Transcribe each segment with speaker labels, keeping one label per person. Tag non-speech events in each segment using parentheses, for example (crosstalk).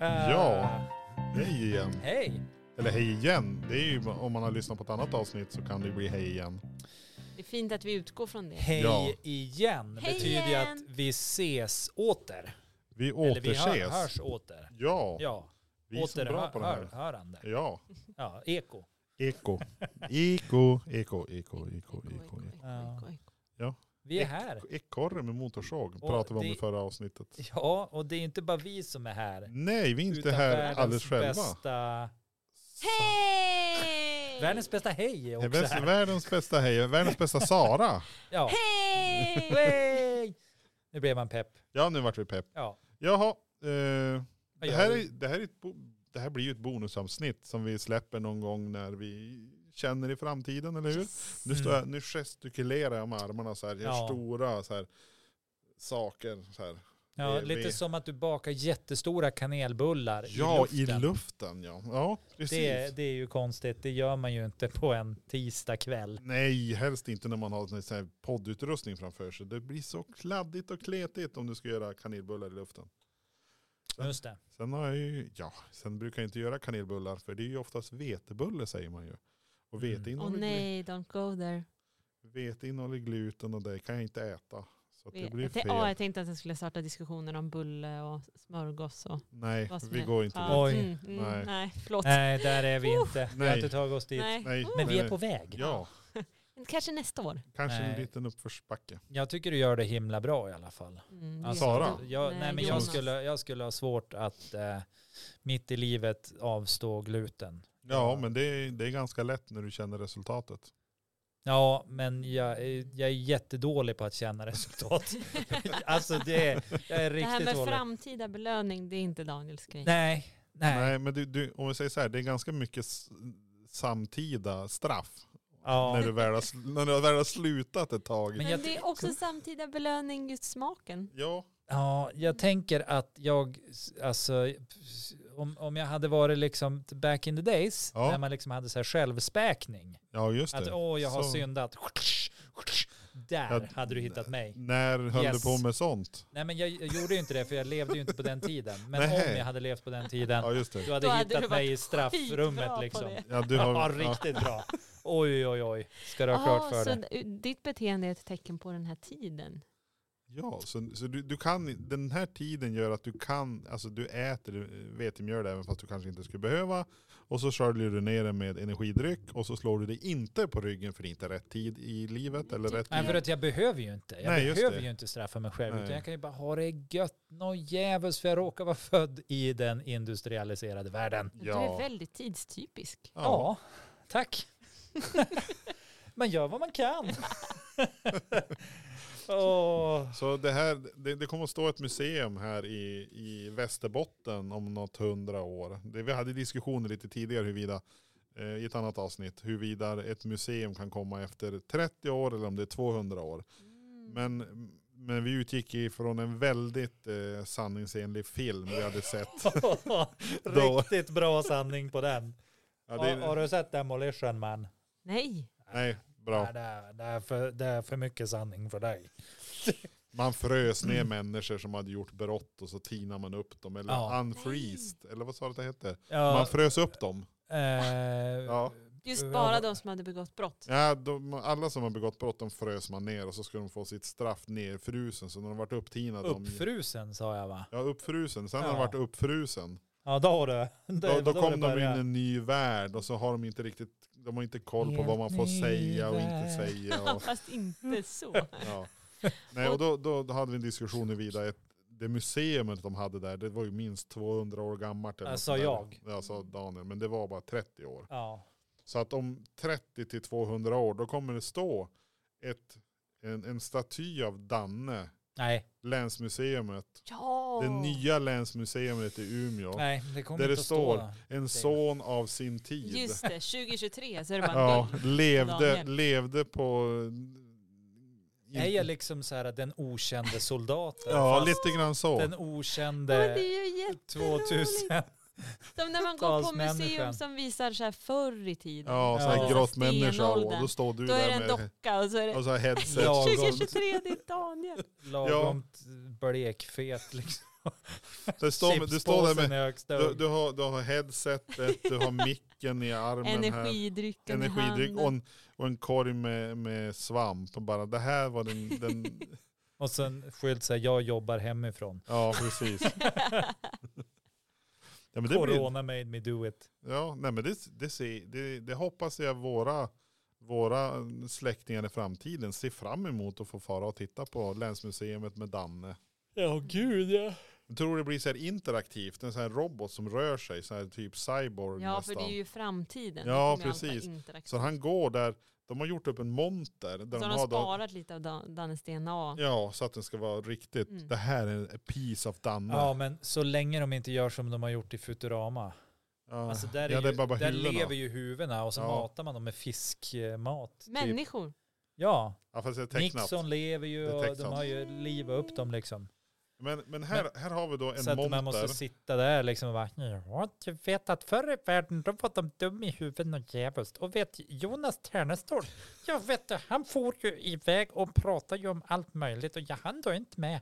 Speaker 1: Eh,
Speaker 2: Ja. Hej igen.
Speaker 1: Hej.
Speaker 2: Eller hej igen. Det är ju, om man har lyssnat på ett annat avsnitt så kan det bli hej igen.
Speaker 3: Det är fint att vi utgår från det.
Speaker 1: Hej
Speaker 2: Ja.
Speaker 1: igen
Speaker 3: Hej
Speaker 1: betyder ju
Speaker 3: igen.
Speaker 1: att vi ses åter.
Speaker 2: Vi
Speaker 1: Eller vi hör,
Speaker 2: återses.
Speaker 1: hörs åter.
Speaker 2: Ja,
Speaker 1: Ja,
Speaker 2: vi är så bra på det här.
Speaker 1: hörande.
Speaker 2: Ja,
Speaker 1: Ja, eko.
Speaker 2: eko. (laughs) Eko, eko, eko, eko, eko.
Speaker 1: Ja.
Speaker 3: oj,
Speaker 1: Vi är här.
Speaker 2: Ekorre med motorsåg
Speaker 1: Och
Speaker 2: pratade vi om
Speaker 1: det-
Speaker 2: i förra avsnittet.
Speaker 1: Ja, och det är inte bara vi som är här.
Speaker 2: Nej, vi är inte
Speaker 1: utan
Speaker 2: här
Speaker 1: världens
Speaker 2: alldeles själva.
Speaker 1: Bästa,
Speaker 3: Hej!
Speaker 1: världens bästa hej är
Speaker 2: Det är
Speaker 1: också
Speaker 2: Bäst,
Speaker 1: här.
Speaker 2: världens bästa hej, världens
Speaker 1: (laughs)
Speaker 2: bästa Sara.
Speaker 1: Ja. (laughs)
Speaker 3: Hej!
Speaker 1: Hej! Nu blev man pepp.
Speaker 2: Ja, nu vart vi pepp.
Speaker 1: Ja.
Speaker 2: Jaha, eh,
Speaker 1: vad
Speaker 2: det,
Speaker 1: gör
Speaker 2: här
Speaker 1: vi?
Speaker 2: är, det, här är ett bo, det här blir ju ett bonusavsnitt som vi släpper någon gång när vi känner i framtiden, eller hur? Nu, står jag, nu gestikulerar jag med armarna så här, jag gör
Speaker 1: Mm. Ja.
Speaker 2: stora så här, saker. Så här.
Speaker 1: ja,
Speaker 2: vi-
Speaker 1: lite
Speaker 2: vi-
Speaker 1: som att du bakar jättestora kanelbullar
Speaker 2: Ja,
Speaker 1: i
Speaker 2: i
Speaker 1: luften.
Speaker 2: luften ja. Ja, precis.
Speaker 1: det, det är ju konstigt, det gör man ju inte på en tisdag kväll.
Speaker 2: Nej, helst inte när man har en sån här poddutrustning framför sig. Det blir så kladdigt och kletigt om du ska göra kanelbullar i luften.
Speaker 1: Just det.
Speaker 2: Sen har jag ju, ja, sen brukar jag inte göra kanelbullar för det är ju oftast vetebulle säger man ju. Och
Speaker 1: Mm.
Speaker 2: vete
Speaker 3: Åh
Speaker 2: innehåller, glu-
Speaker 3: nej, don't go there.
Speaker 2: vete innehåller gluten och det kan jag inte äta. Så att det blir
Speaker 3: Jag, tän-
Speaker 2: fel.
Speaker 3: Åh, jag tänkte att jag skulle starta diskussioner om bulle och smörgås och
Speaker 2: Nej,
Speaker 3: vad som
Speaker 2: vi
Speaker 3: är-
Speaker 2: går inte
Speaker 3: Ja,
Speaker 2: dit.
Speaker 1: Oj.
Speaker 3: Mm, mm,
Speaker 2: Nej.
Speaker 3: nej. (laughs) förlåt.
Speaker 1: Nej, där är vi inte. Vi har
Speaker 2: nej.
Speaker 1: inte tagit oss dit.
Speaker 3: Nej.
Speaker 2: Nej,
Speaker 1: Men vi
Speaker 2: nej,
Speaker 1: är på väg.
Speaker 2: Ja,
Speaker 3: Men Kanske nästa år.
Speaker 2: kanske en
Speaker 1: Nej.
Speaker 2: liten uppförsbacke.
Speaker 1: Jag tycker du gör det himla bra i alla fall.
Speaker 3: Mm,
Speaker 1: Alltså,
Speaker 2: Sara?
Speaker 1: Jag, nej, men jag,
Speaker 3: Jonas. (laughs)
Speaker 1: skulle, jag skulle ha svårt att eh, mitt i livet avstå gluten.
Speaker 2: Ja,
Speaker 1: Ja.
Speaker 2: men det är, det är ganska lätt när du känner resultatet.
Speaker 1: Ja, men jag, är- jag är jättedålig på att känna resultat. (laughs) alltså det är, jag är
Speaker 3: Det här
Speaker 1: riktigt
Speaker 3: med
Speaker 1: dålig.
Speaker 3: framtida belöning, det är inte Daniels grej.
Speaker 1: Nej, nej.
Speaker 2: Nej, men du, du, om vi säger så här, det är ganska mycket s- samtida straff. När,
Speaker 1: Ja.
Speaker 2: du väl har, sl- när du väl har slutat ett tag.
Speaker 1: Men
Speaker 3: Men,
Speaker 1: jag
Speaker 3: det är också samtida belöning just smaken.
Speaker 2: Ja,
Speaker 1: ja, jag tänker att jag, alltså om, om jag hade varit liksom back in the days,
Speaker 2: Ja.
Speaker 1: när man liksom hade så här självspäkning.
Speaker 2: ja, just det.
Speaker 1: Att åh, jag har
Speaker 2: Så-
Speaker 1: syndat. Där
Speaker 2: Ja,
Speaker 1: hade du hittat mig.
Speaker 2: När höll
Speaker 1: Yes.
Speaker 2: du på med sånt?
Speaker 1: Nej men jag, jag gjorde ju inte det för jag levde ju inte på den tiden. Men
Speaker 2: Nej.
Speaker 1: om jag hade levt på den tiden,
Speaker 2: Ja, just det.
Speaker 1: då hade
Speaker 3: Då
Speaker 1: jag
Speaker 3: hade du
Speaker 1: hittat mig i
Speaker 3: skitbra
Speaker 1: straffrummet
Speaker 3: på
Speaker 1: liksom.
Speaker 3: det.
Speaker 2: Ja, du har,
Speaker 1: Ja,
Speaker 2: ja,
Speaker 1: riktigt bra. Oj, oj, oj. Ska du ha
Speaker 3: Ah,
Speaker 1: klart för
Speaker 3: så
Speaker 1: dig.
Speaker 3: d- ditt beteende är ett tecken på den här tiden.
Speaker 2: ja, så, så du, du kan, den här tiden gör att du kan, alltså du äter eh, vetemjöl även fast du kanske inte skulle behöva. Och så sköljer du ner det med energidryck och så slår du dig inte på ryggen för det är inte rätt tid i livet. Eller rätt
Speaker 1: Nej, för
Speaker 2: tid.
Speaker 1: att jag behöver ju inte. Jag
Speaker 2: Nej, just
Speaker 1: behöver
Speaker 2: det.
Speaker 1: ju inte straffa mig själv.
Speaker 2: Nej.
Speaker 1: Utan jag kan ju bara ha det gött nå djävulskt för jag råkar vara född i den industrialiserade världen.
Speaker 3: Du
Speaker 2: Ja.
Speaker 3: är väldigt tidstypisk.
Speaker 1: Ja,
Speaker 2: Ja. (laughs)
Speaker 1: tack. man gör vad man (laughs) kan. Åh. (laughs)
Speaker 2: Så det här, det, det kommer att stå ett museum här i, i Västerbotten om något hundra år. Det, vi hade diskussioner lite tidigare huruvida, eh, i ett annat avsnitt, huruvida ett museum kan komma efter 30 år eller om det är 200 år.
Speaker 1: Mm.
Speaker 2: Men, men vi utgick ifrån en väldigt eh, sanningsenlig film vi
Speaker 1: (laughs)
Speaker 2: hade sett. Då-
Speaker 1: Riktigt bra sanning på den.
Speaker 2: Ja,
Speaker 1: har, har
Speaker 2: det,
Speaker 1: du sett Demolition Man?
Speaker 3: Nej.
Speaker 2: nej, bra.
Speaker 1: Nej, det, är, det, är för, det är för mycket sanning för dig.
Speaker 2: Man frös
Speaker 1: Mm.
Speaker 2: ner människor som hade gjort brott och så tinar man upp dem. Eller
Speaker 1: Ja.
Speaker 2: unfreezed, eller vad sa du att det hette? Man
Speaker 1: Ja,
Speaker 2: frös upp dem.
Speaker 1: eh,
Speaker 2: Ja.
Speaker 3: Just
Speaker 1: Ja,
Speaker 3: bara
Speaker 1: men-
Speaker 3: de som hade begått brott.
Speaker 2: Ja, de, alla som har begått brott de frös man ner och så skulle de få sitt straff nerfrusen. Så när de varit upptinade. De,
Speaker 1: Uppfrusen sa jag va?
Speaker 2: ja, uppfrusen. Sen när
Speaker 1: Ja.
Speaker 2: de varit uppfrusen.
Speaker 1: Ja, då du.
Speaker 2: Då, då kom de in i en ny värld och så har de inte riktigt, de har inte koll på
Speaker 1: Helt
Speaker 2: vad man får
Speaker 1: ny
Speaker 2: säga och
Speaker 1: värld.
Speaker 2: inte säga. Och,
Speaker 3: (laughs) Fast
Speaker 1: (laughs)
Speaker 3: inte så. (laughs)
Speaker 2: ja. Nej, och då, då, då hade vi en diskussion huruvida ett- det museumet de hade där, det var ju minst 200 år gammalt. eller
Speaker 1: Ja,
Speaker 2: något
Speaker 1: sa
Speaker 2: sånt där.
Speaker 1: jag.
Speaker 2: Ja, sa Daniel. Men det var bara 30 år.
Speaker 1: Ja.
Speaker 2: Så att om 30 till 200 år då kommer det stå ett, en, en staty av Danne,
Speaker 1: Nej,
Speaker 2: länsmuseet,
Speaker 3: Ja.
Speaker 2: det nya länsmuseet i Umeå.
Speaker 1: nej, det kommer
Speaker 2: Där
Speaker 1: inte
Speaker 2: det
Speaker 1: att stå.
Speaker 2: står- En son av sin tid.
Speaker 3: Just det, 2023 så är det bara
Speaker 2: Ja,
Speaker 3: ja.
Speaker 2: levde,
Speaker 3: Daniel.
Speaker 2: levde på...
Speaker 1: Är jag liksom så här den okände soldaten?
Speaker 2: Ja,
Speaker 1: Fast
Speaker 2: lite grann så.
Speaker 1: Den
Speaker 3: Men det
Speaker 1: okände
Speaker 3: är ju jätteroligt.
Speaker 1: 2000.
Speaker 3: Som när man går på
Speaker 1: Talsmänniskan.
Speaker 3: museum som visar så här förr i tiden. Alltså,
Speaker 2: Ja, så här
Speaker 1: Ja.
Speaker 2: grått människa. Och
Speaker 3: Stenåldern.
Speaker 2: då står du
Speaker 3: Då är det
Speaker 2: där
Speaker 3: en
Speaker 2: med
Speaker 3: docka och så är det
Speaker 2: och så här headset.
Speaker 1: Ja.
Speaker 3: (laughs) 2023, det är Daniel.
Speaker 1: Lagomt blekfet liksom.
Speaker 2: Det står, du står där med,
Speaker 1: Chipspåsen är högst
Speaker 2: du,
Speaker 1: upp.
Speaker 2: du, har, du har headsetet, du har micken i armen här.
Speaker 3: Energidrycken
Speaker 2: Energidryck och (laughs)
Speaker 3: eh, och
Speaker 2: en, och en korg med, med svamp. Och bara, det här var den,
Speaker 3: (laughs)
Speaker 2: den
Speaker 1: Och sen skylt så här, jag jobbar hemifrån.
Speaker 2: ja precis. Ja, men det blir,
Speaker 1: Corona made me do it.
Speaker 2: Ja, nej men det, det, ser, det, det hoppas jag våra, våra släktingar i framtiden ser fram emot att få fara och titta på Länsmuseet med Danne.
Speaker 1: Ja, gud ja.
Speaker 2: Jag tror det blir så här interaktivt, en sån här robot som rör sig, så här typ cyborg
Speaker 3: Ja, för
Speaker 2: nästan.
Speaker 3: det är ju framtiden. Det
Speaker 2: Ja,
Speaker 3: kommer ju allt vara
Speaker 2: precis.
Speaker 3: interaktivt.
Speaker 2: Så han går där, de har gjort upp en monter. Där
Speaker 3: Så
Speaker 2: de
Speaker 3: har de
Speaker 2: har då,
Speaker 3: sparat lite av Dan- Dannes DNA.
Speaker 2: ja, så att den ska vara riktigt,
Speaker 3: Mm.
Speaker 2: det här är en piece of Danne.
Speaker 1: Ja, men så länge de inte gör som de har gjort i Futurama.
Speaker 2: Ja.
Speaker 1: Alltså där, är
Speaker 2: Ja, det är
Speaker 1: ju,
Speaker 2: bara
Speaker 1: där
Speaker 2: huvudena.
Speaker 1: lever ju huvudena och så
Speaker 2: Ja.
Speaker 1: matar man dem med fiskmat. Typ.
Speaker 3: Människor.
Speaker 1: Ja,
Speaker 2: ja, fast det är tecknat.
Speaker 1: Nixon lever ju
Speaker 2: Det är
Speaker 1: och de
Speaker 2: tecknat.
Speaker 1: har ju livat upp dem liksom.
Speaker 2: Men, men här, här har vi då en
Speaker 1: så att man måste
Speaker 2: monter.
Speaker 1: sitta där liksom och bara, ja, du vet att förr i världen då var de dum i huvudet och djävulskt. Och vet Jonas Ternestål, jag vet det, han for ju iväg och pratade ju om allt möjligt och jag hann då inte med.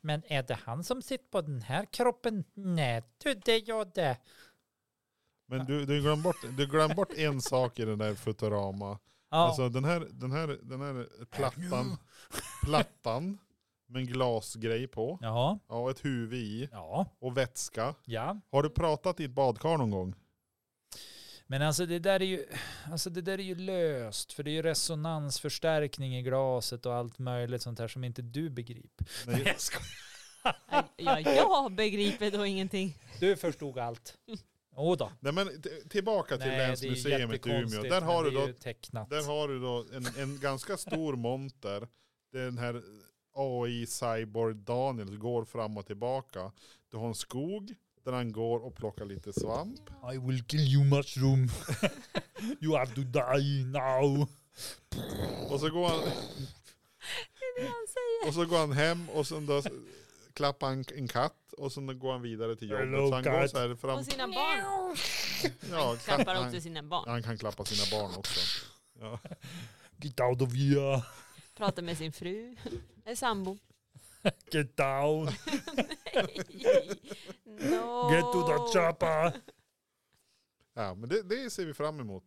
Speaker 1: Men är det han som sitter på den här kroppen? Nej, du, det är jag det.
Speaker 2: Men du, du glömde bort, du glöm bort en sak i den där Futurama.
Speaker 1: Ja,
Speaker 2: Alltså den här, den här, den här plattan, plattan med en glasgrej på.
Speaker 1: ja,
Speaker 2: Ja, och ett huvud i
Speaker 1: ja,
Speaker 2: och vätska.
Speaker 1: ja.
Speaker 2: Har du pratat i ett badkar någon gång?
Speaker 1: Men alltså det där är ju, alltså det där är ju löst, för det är ju resonansförstärkning i glaset och allt möjligt sånt här som inte du begriper.
Speaker 2: Nej.
Speaker 1: (laughs) jag skojar.
Speaker 3: Ja, jag begriper
Speaker 2: (laughs)
Speaker 3: då ingenting.
Speaker 1: Du förstod allt. Jo då.
Speaker 2: Nej men t- tillbaka till Länsmuseet i Umeå. Där har,
Speaker 1: men
Speaker 2: du
Speaker 1: det är
Speaker 2: då,
Speaker 1: ju tecknat.
Speaker 2: där har du då en, en ganska stor monter. Den här AI Cyborg Daniel går fram och tillbaka. Du har en skog där han går och plockar lite svamp.
Speaker 1: I will kill you (laughs) mushroom. you have to die now.
Speaker 2: Och så går han,
Speaker 3: Det är det han säger.
Speaker 2: Och så går han hem och sen då klappar han en katt och sen går han vidare till jobbet.
Speaker 1: Hello,
Speaker 2: så han går
Speaker 1: cat.
Speaker 2: så här fram.
Speaker 3: Och sina barn.
Speaker 2: Ja, klappar
Speaker 3: Klappar också
Speaker 2: han,
Speaker 3: sina barn.
Speaker 2: han kan klappa sina barn också. Ja.
Speaker 1: Get out of here.
Speaker 3: Pratar med
Speaker 2: (laughs)
Speaker 3: sin fru. Eller sambo. (laughs)
Speaker 1: Get down.
Speaker 3: Nej. No.
Speaker 1: Get to the chopper.
Speaker 2: Ja, men det, det ser vi fram emot.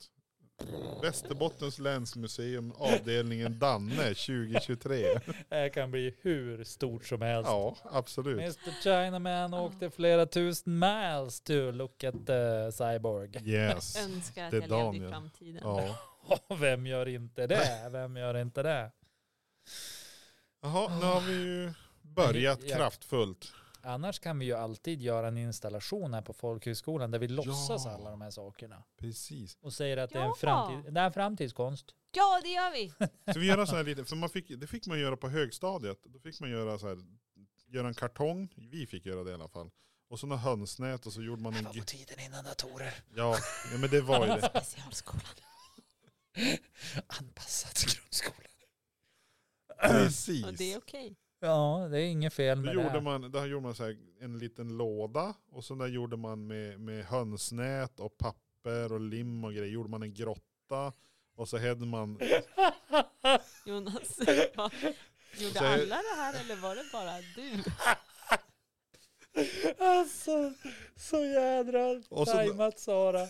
Speaker 2: Västerbottens länsmuseum avdelningen Danne 2023.
Speaker 1: Det här kan bli hur stort som helst.
Speaker 2: Ja, absolut.
Speaker 1: Mr Chinaman
Speaker 3: Ah.
Speaker 1: åkte flera tusen miles to look at the cyborg. (laughs)
Speaker 2: Yes.
Speaker 3: Önskar att
Speaker 2: Det är
Speaker 3: jag levde i
Speaker 2: Daniel.
Speaker 3: framtiden.
Speaker 2: Ja.
Speaker 1: Vem gör inte
Speaker 2: (laughs)
Speaker 1: det? Vem gör inte det?
Speaker 2: Jaha, nu har vi ju börjat
Speaker 1: Ja.
Speaker 2: kraftfullt.
Speaker 1: Annars kan vi ju alltid göra en installation här på folkhögskolan där vi låtsas
Speaker 2: Ja.
Speaker 1: alla de här sakerna.
Speaker 2: Precis.
Speaker 1: Och säger att det, är en
Speaker 3: Ja.
Speaker 1: framtid, det är en framtidskonst.
Speaker 3: Ja,
Speaker 2: (laughs)
Speaker 3: det gör vi.
Speaker 2: Så vi gör en sån här liten, för man fick, det fick man göra på högstadiet. Då fick man göra så här, göra en kartong, vi fick göra det i alla fall. Och så några hönsnät och så gjorde man en... gr-
Speaker 1: tiden innan datorer.
Speaker 2: Ja, ja, men det var ju det.
Speaker 3: Specialskolan.
Speaker 1: Anpassad till grundskolan.
Speaker 3: Och det är
Speaker 2: Precis.
Speaker 3: okej.
Speaker 1: Ja, det är inget fel
Speaker 2: Då
Speaker 1: med
Speaker 2: gjorde
Speaker 1: det.
Speaker 2: man, där gjorde man så här en liten låda och så där gjorde man med, med hönsnät och papper och lim och grejer. Gjorde man en grotta och så hade man,
Speaker 3: Jonas, vad- gjorde
Speaker 2: Så jag-
Speaker 3: alla det här eller var det bara du?
Speaker 1: (laughs) Alltså, så jädra
Speaker 2: Och så-
Speaker 1: tajmat Sara.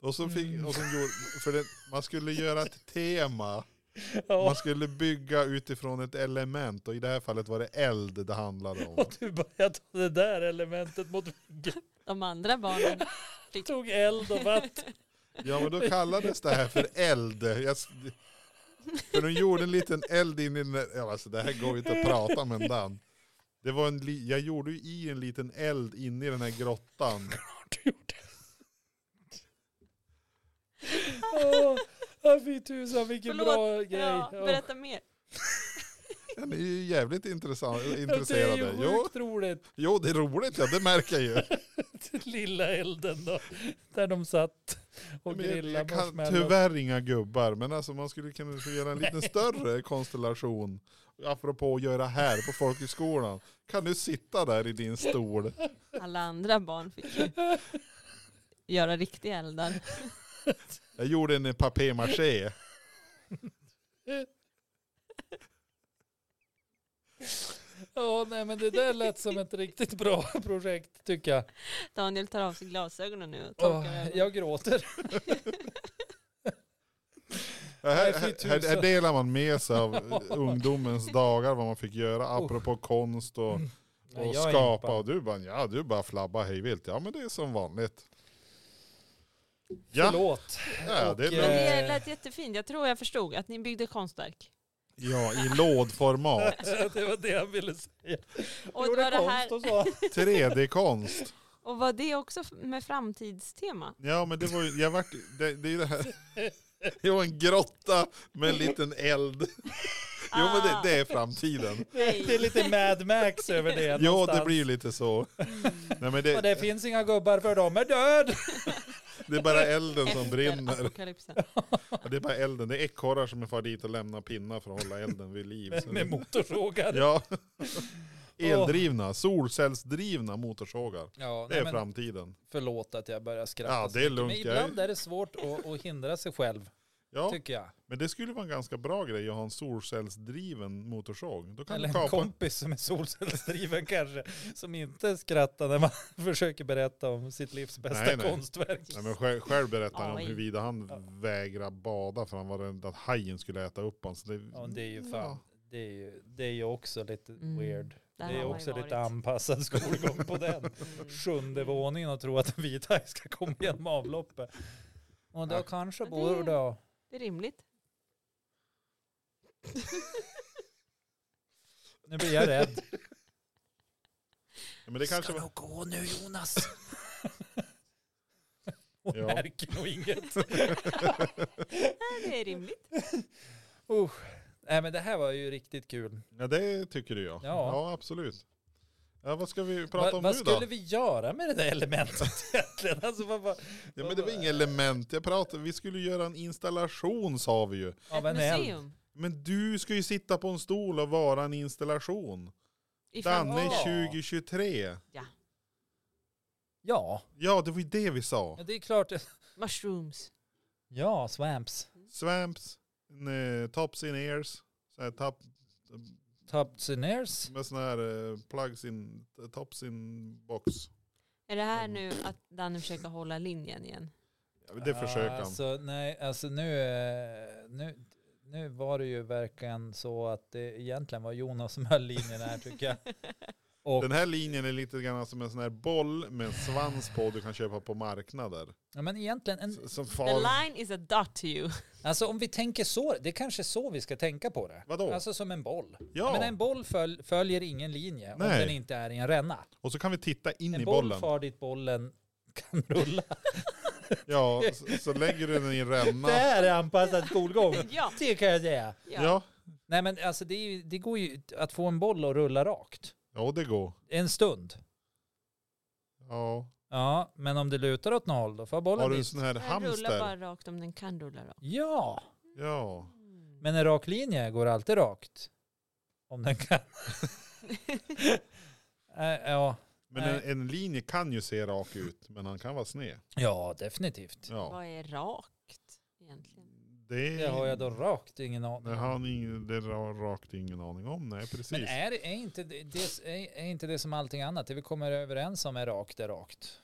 Speaker 2: och så fick,
Speaker 1: Mm.
Speaker 2: och så gjorde, för det, man skulle göra ett tema. Man
Speaker 1: Ja,
Speaker 2: skulle bygga utifrån ett element och i det här fallet var det eld det handlade
Speaker 1: (laughs)
Speaker 2: om.
Speaker 1: och du började ta det där elementet mot väggen.
Speaker 3: De andra barnen.
Speaker 1: Tog eld och vatten. (laughs)
Speaker 2: Ja men då kallades det här för eld. Jag, s- för de gjorde en liten eld in i den där- ja, alltså det här går ju inte att prata med en Dan. Det var en, li- jag gjorde ju i en liten eld inne i den här grottan.
Speaker 1: Du gjorde. Åh, ja, fy tusan vilken
Speaker 3: Förlåt.
Speaker 1: bra grej.
Speaker 3: Ja,
Speaker 1: Ja.
Speaker 3: berätta mer.
Speaker 2: Den är ju jävligt intressant,
Speaker 1: Ja, Det är ju
Speaker 2: intresserade. Jo,
Speaker 1: sjukt roligt.
Speaker 2: jo, det är roligt ja, det märker jag
Speaker 1: (laughs)
Speaker 2: ju.
Speaker 1: lilla elden då. Där de satt och
Speaker 2: Men jag,
Speaker 1: grillade
Speaker 2: jag kan
Speaker 1: marshmallows.
Speaker 2: tyvärr inga gubbar, men alltså man skulle kunna få göra en lite större konstellation. Apropå att göra här på folkhögskolan. Kan du sitta där i din stol?
Speaker 3: Alla andra barn fick ju göra riktiga eldar.
Speaker 2: Jag gjorde en papier-maché.
Speaker 1: Ja, nej men det där lät som ett riktigt bra (laughs) projekt tycker jag.
Speaker 3: Daniel tar av sig glasögonen nu och torkar
Speaker 1: Åh,
Speaker 3: ögonen.
Speaker 1: jag gråter.
Speaker 2: Här,
Speaker 1: Nej, fy
Speaker 2: här, här, här
Speaker 1: tusan.
Speaker 2: delar man med sig av ungdomens dagar, vad man fick göra, apropå konst och,
Speaker 1: Nej,
Speaker 2: och
Speaker 1: jag är
Speaker 2: skapa.
Speaker 1: impad.
Speaker 2: Och du bara, ja du bara flabba hejvilt. Ja men det är som vanligt. Ja,
Speaker 1: Förlåt.
Speaker 2: ja, det är
Speaker 1: Och,
Speaker 3: Men
Speaker 2: lugnt.
Speaker 3: det
Speaker 1: Eh.
Speaker 3: lät jättefint. Jag tror jag förstod att ni byggde konstverk.
Speaker 2: ja i
Speaker 1: (laughs)
Speaker 2: lådformat.
Speaker 1: Det var det jag ville säga.
Speaker 3: Och,
Speaker 1: Gjorde
Speaker 3: var det
Speaker 1: konst
Speaker 3: här,
Speaker 1: och så.
Speaker 2: 3D-konst.
Speaker 3: och var det också f- med framtidstema?
Speaker 2: Ja men det var ju, jag vart, det, det är ju det här. (laughs) Det var en grotta med en liten eld. Jo men det, det är framtiden.
Speaker 3: Ah, Nej.
Speaker 1: Det är lite Mad Max över det.
Speaker 2: (laughs) Jo
Speaker 1: någonstans.
Speaker 2: det blir ju lite så. Nej men
Speaker 1: Och
Speaker 2: det,
Speaker 1: det finns inga gubbar för de är
Speaker 2: (laughs)
Speaker 1: död.
Speaker 2: det är bara elden som
Speaker 3: Efter
Speaker 2: brinner.
Speaker 3: apokalypsen.
Speaker 2: Ja, Det är bara elden, det är ekorrar som är far dit och lämnar pinnar för att hålla elden vid liv.
Speaker 1: (laughs)
Speaker 2: Så
Speaker 1: Med
Speaker 2: det,
Speaker 1: motorsågar. (laughs)
Speaker 2: ja. Eldrivna, solcellsdrivna motorsågar.
Speaker 1: Ja,
Speaker 2: Det
Speaker 1: nej,
Speaker 2: är
Speaker 1: men
Speaker 2: framtiden.
Speaker 1: förlåt att jag börjar skratta.
Speaker 2: Ja
Speaker 1: så
Speaker 2: det är
Speaker 1: mycket. Men
Speaker 2: lugnt. Jag
Speaker 1: ibland
Speaker 2: är,
Speaker 1: är det svårt att, att hindra sig själv,
Speaker 2: ja,
Speaker 1: tycker jag.
Speaker 2: men det skulle vara en ganska bra grej att ha en solcellsdriven motorsåg. Då kan
Speaker 1: Eller
Speaker 2: du
Speaker 1: en
Speaker 2: kapa en
Speaker 1: kompis som är solcellsdriven kanske, som inte skrattar när man (laughs) försöker berätta om sitt livs bästa
Speaker 2: Nej, nej.
Speaker 1: konstverk.
Speaker 2: Nej, men själv, själv berättar han om
Speaker 3: Oj.
Speaker 2: huruvida han
Speaker 1: Ja.
Speaker 2: vägrade bada för han var rädd att hajen skulle äta upp honom. Så det,
Speaker 1: Ja, det är ju
Speaker 2: Ja.
Speaker 1: fan, det är ju, det är ju också lite
Speaker 3: Mm.
Speaker 1: weird.
Speaker 3: Där
Speaker 1: det
Speaker 3: har
Speaker 1: är
Speaker 3: man ju
Speaker 1: också
Speaker 3: varit.
Speaker 1: lite anpassad skolgång på
Speaker 3: (laughs)
Speaker 1: den. (laughs)
Speaker 3: Mm.
Speaker 1: Sjunde våningen och tro att en vit haj ska komma igenom avloppet. Och då
Speaker 2: Ja.
Speaker 1: kanske
Speaker 3: Ja, det-
Speaker 1: bor då.
Speaker 3: Det är rimligt.
Speaker 2: (laughs)
Speaker 1: Nu blir jag rädd.
Speaker 2: Ja, men det
Speaker 1: ska
Speaker 2: kanske var,
Speaker 1: nog gå nu
Speaker 2: (laughs)
Speaker 1: Jonas. Hon
Speaker 2: Ja.
Speaker 1: märker nog inget.
Speaker 3: Nej, det är rimligt.
Speaker 1: Nej men det här var ju riktigt kul.
Speaker 2: ja, det tycker du ja. ja.
Speaker 1: Ja.
Speaker 2: absolut. Ja, vad ska vi prata
Speaker 1: Va,
Speaker 2: om
Speaker 1: vad
Speaker 2: nu
Speaker 1: skulle
Speaker 2: då?
Speaker 1: vi göra med det där elementet (laughs) egentligen? Alltså, vad, vad,
Speaker 2: Ja, men det var inga element. Jag pratade, vi skulle göra en installation sa vi ju.
Speaker 1: av
Speaker 3: Ett
Speaker 1: en eld.
Speaker 3: museum.
Speaker 2: Men du ska ju sitta på en stol och vara en installation.
Speaker 3: I
Speaker 2: Danne
Speaker 3: framtiden.
Speaker 1: Ja.
Speaker 2: 2023.
Speaker 1: Ja,
Speaker 2: Ja, det var ju det vi sa.
Speaker 1: ja, det är klart.
Speaker 3: Mushrooms.
Speaker 1: Ja, swamps.
Speaker 2: Swamps, eh, tops in ears, så här, tap,
Speaker 1: Tapsiners.
Speaker 2: med sån här eh, plugs in, tops in box.
Speaker 3: Är det här
Speaker 2: Mm.
Speaker 3: nu att Danne försöker hålla linjen igen?
Speaker 2: Ja, Det försöker han.
Speaker 1: Alltså, nej, alltså nu, eh, nu, nu var det ju verkligen så att det egentligen var Jonas som höll linjen här tycker jag. Och,
Speaker 2: Den här linjen är lite grann som en sån här boll med en svans på du kan köpa på marknader.
Speaker 1: ja, men egentligen, en,
Speaker 2: S- Som
Speaker 3: The
Speaker 2: far...
Speaker 3: line is a dot to you.
Speaker 1: alltså om vi tänker så, det är kanske är så vi ska tänka på det.
Speaker 2: Vadå?
Speaker 1: Alltså som en boll. Ja. Men
Speaker 2: ja,
Speaker 1: en boll föl, följer ingen linje om
Speaker 2: Nej.
Speaker 1: den inte är i en ränna.
Speaker 2: och så kan vi titta in i
Speaker 1: En boll
Speaker 2: bollen.
Speaker 1: far dit bollen kan rulla.
Speaker 2: Ja, så, så lägger du den i en ränna.
Speaker 1: Det här är anpassad skolgång.
Speaker 3: (laughs) ja.
Speaker 1: Det kan jag säga.
Speaker 2: Ja,
Speaker 1: Nej men alltså det, är, ju- det går ju att få en boll att rulla rakt.
Speaker 2: ja det går.
Speaker 1: En stund.
Speaker 2: Ja.
Speaker 1: Ja, men om det lutar åt något håll då får bollen
Speaker 2: Har du en
Speaker 1: dit.
Speaker 2: sån här
Speaker 3: Den rullar
Speaker 2: hamster?
Speaker 3: bara rakt om den kan rulla rakt. Mm.
Speaker 1: Ja,
Speaker 2: Ja.
Speaker 1: men en rak linje går alltid rakt. Om den kan. Äh, ja.
Speaker 2: Men en, en linje kan ju se rak ut, men han kan vara sned.
Speaker 1: ja, definitivt.
Speaker 2: Ja.
Speaker 3: Typ, Vad är rakt egentligen?
Speaker 2: Det,
Speaker 1: Det har jag då rakt ingen aning
Speaker 2: Det
Speaker 1: om.
Speaker 2: har han ingen, det har rakt ingen aning om. Nej,
Speaker 1: Men
Speaker 2: precis.
Speaker 1: är, är, inte det, det, är, är inte det som allting annat, det vi kommer överens om är rakt, är rakt?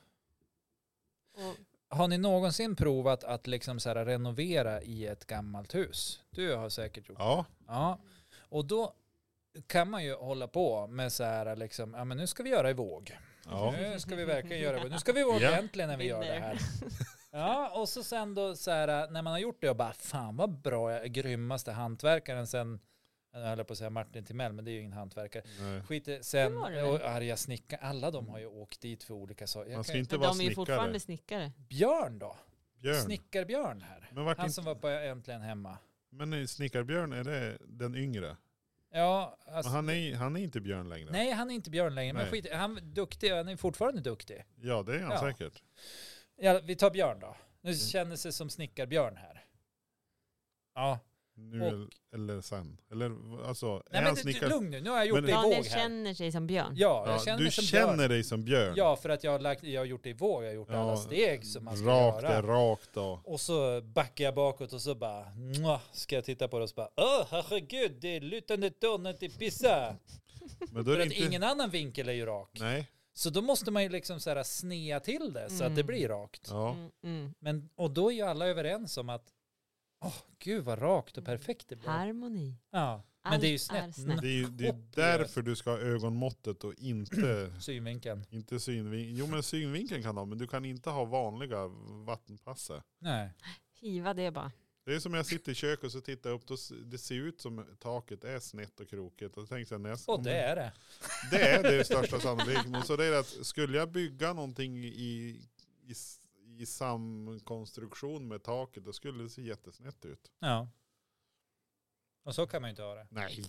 Speaker 3: Och
Speaker 1: Har ni någonsin provat att liksom så här renovera i ett gammalt hus? Du har säkert gjort
Speaker 2: Ja,
Speaker 1: Ja, och då kan man ju hålla på med så här liksom, ja men nu ska vi göra i våg.
Speaker 2: ja.
Speaker 1: Nu ska vi verkligen göra i våg. Nu ska vi vara
Speaker 2: (laughs) Ja.
Speaker 1: ordentliga när vi gör det här. Ja, och så sen då så här, när man har gjort det och bara, fan vad bra, jag är grymmaste hantverkaren sen, jag höll på att säga Martin Timell, men det är ju ingen hantverkare.
Speaker 2: Nej.
Speaker 1: Skit i- sen,
Speaker 3: Det var det väl?
Speaker 1: och arga snickare, alla de har ju åkt dit för olika saker.
Speaker 2: Man
Speaker 1: Jag
Speaker 2: ska
Speaker 1: kan,
Speaker 2: inte
Speaker 3: Men
Speaker 2: vara
Speaker 3: de är ju
Speaker 2: snickare.
Speaker 3: fortfarande snickare.
Speaker 1: Björn då?
Speaker 2: Björn.
Speaker 1: Snickarbjörn här.
Speaker 2: Men vart
Speaker 1: Han
Speaker 2: inte-
Speaker 1: som var på Äntligen Hemma.
Speaker 2: Men eh, snickarbjörn, är det den yngre?
Speaker 1: Ja,
Speaker 2: Men
Speaker 1: alltså,
Speaker 2: han, är, han är inte björn längre.
Speaker 1: Nej, han är inte Björn längre. Men
Speaker 2: Nej.
Speaker 1: skit, han är duktig, han är fortfarande duktig.
Speaker 2: Ja, det är han
Speaker 1: Ja.
Speaker 2: säkert.
Speaker 1: Ja, vi tar Björn då. Nu
Speaker 2: Mm.
Speaker 1: känner sig som snickarbjörn här. Ja,
Speaker 2: Nu
Speaker 1: Och-
Speaker 2: el- eller sen. Eller v- alltså,
Speaker 1: nej
Speaker 2: är
Speaker 1: men
Speaker 2: han
Speaker 1: du,
Speaker 2: snickare?
Speaker 1: lugn nu, nu har jag gjort
Speaker 2: Men-
Speaker 1: det i
Speaker 3: Daniel
Speaker 1: våg här.
Speaker 3: känner sig som björn.
Speaker 1: Ja, jag
Speaker 2: Ja,
Speaker 1: känner
Speaker 2: du
Speaker 1: som
Speaker 2: känner
Speaker 1: björn.
Speaker 2: dig som björn.
Speaker 1: Ja, för att jag har, lagt, jag har gjort det i våg, jag har gjort
Speaker 2: Ja,
Speaker 1: alla steg som man ska
Speaker 2: rakt
Speaker 1: göra.
Speaker 2: är rakt då.
Speaker 1: Och så backar jag bakåt och så bara, "Mwah", ska jag titta på det och så bara, åh herregud, det är lutande tornet i Pisa.
Speaker 2: Men då är
Speaker 1: För
Speaker 2: det
Speaker 1: att
Speaker 2: inte...
Speaker 1: ingen annan vinkel är ju rak.
Speaker 2: Nej.
Speaker 1: Så då måste man ju liksom så här snea till det så att det
Speaker 3: Mm.
Speaker 1: blir rakt.
Speaker 2: Ja.
Speaker 3: Mm, mm.
Speaker 1: Men, och då är ju alla överens om att, åh gud vad rakt och perfekt det blev.
Speaker 3: Harmoni.
Speaker 1: Ja, men
Speaker 3: Allt
Speaker 1: det är ju
Speaker 3: är
Speaker 1: snett.
Speaker 3: snett.
Speaker 2: Det är, ju- det är
Speaker 1: Hopplöst.
Speaker 2: därför du ska ha ögonmåttet och inte,
Speaker 1: Synvinkeln.
Speaker 2: inte synvinkeln. Jo men synvinkeln kan du ha, men du kan inte ha vanliga vattenpasser.
Speaker 1: Nej.
Speaker 3: Hiva det bara.
Speaker 2: Det är som när jag sitter i köket och så tittar jag upp, då, s- det ser ut som taket är snett och krokigt. Och då tänkte jag, när jag
Speaker 1: Och det är det.
Speaker 2: Det är det största sannolikheten. Men Så det är att skulle jag bygga någonting i, i, s- i samkonstruktion med taket, då skulle det se jättesnett ut.
Speaker 1: Ja. Och så kan man ju inte ha det.
Speaker 2: Nej.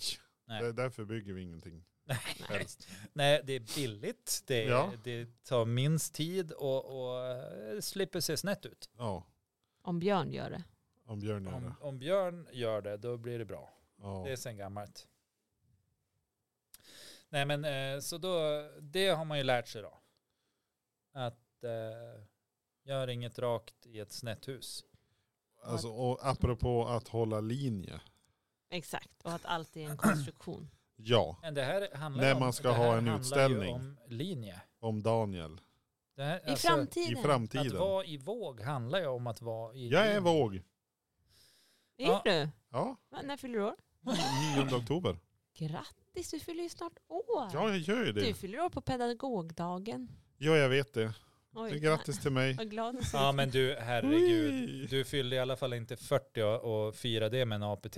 Speaker 1: Nej.
Speaker 2: Det är därför bygger vi ingenting.
Speaker 1: Nej,
Speaker 2: Helst.
Speaker 1: Nej det är billigt. Det, är-
Speaker 2: Ja.
Speaker 1: det tar minst tid och, och eh, slipper se snett ut.
Speaker 2: Ja,
Speaker 3: Om Björn gör det.
Speaker 2: om Björn gör
Speaker 1: Om,
Speaker 2: det.
Speaker 1: om Björn gör det, då blir det bra.
Speaker 2: Ja.
Speaker 1: Det är sen gammalt. Nej men eh, så då, det har man ju lärt sig då. Att eh, gör inget rakt i ett snett hus.
Speaker 2: Alltså, och apropå att hålla linje.
Speaker 3: Exakt. Och att allt är en konstruktion.
Speaker 1: (clears throat)
Speaker 2: Ja,
Speaker 1: Men det här handlar
Speaker 2: När
Speaker 1: ju om,
Speaker 2: man ska
Speaker 1: det här
Speaker 2: ha en
Speaker 1: handlar ju
Speaker 2: utställning.
Speaker 1: om linje.
Speaker 2: om Daniel.
Speaker 1: Det här, alltså,
Speaker 2: I
Speaker 3: I framtiden.
Speaker 2: framtiden.
Speaker 1: Att vara i våg handlar ju om att vara i
Speaker 2: Jag är
Speaker 1: linje.
Speaker 2: våg.
Speaker 3: Är
Speaker 1: Ja.
Speaker 3: du?
Speaker 2: Ja,
Speaker 3: Va, När fyller du år?
Speaker 2: 9 oktober.
Speaker 3: Grattis, du fyller ju snart år.
Speaker 2: Ja, jag gör ju
Speaker 3: du
Speaker 2: det.
Speaker 3: fyller år på pedagogdagen.
Speaker 2: Ja, jag vet det.
Speaker 3: Typ. Oj,
Speaker 2: Grattis till mig.
Speaker 3: Vad glad du ser
Speaker 1: Ja
Speaker 3: ut.
Speaker 1: men du, herregud.
Speaker 2: Ui.
Speaker 1: Du fyllde i alla fall inte 40 och, och firade det med en APT.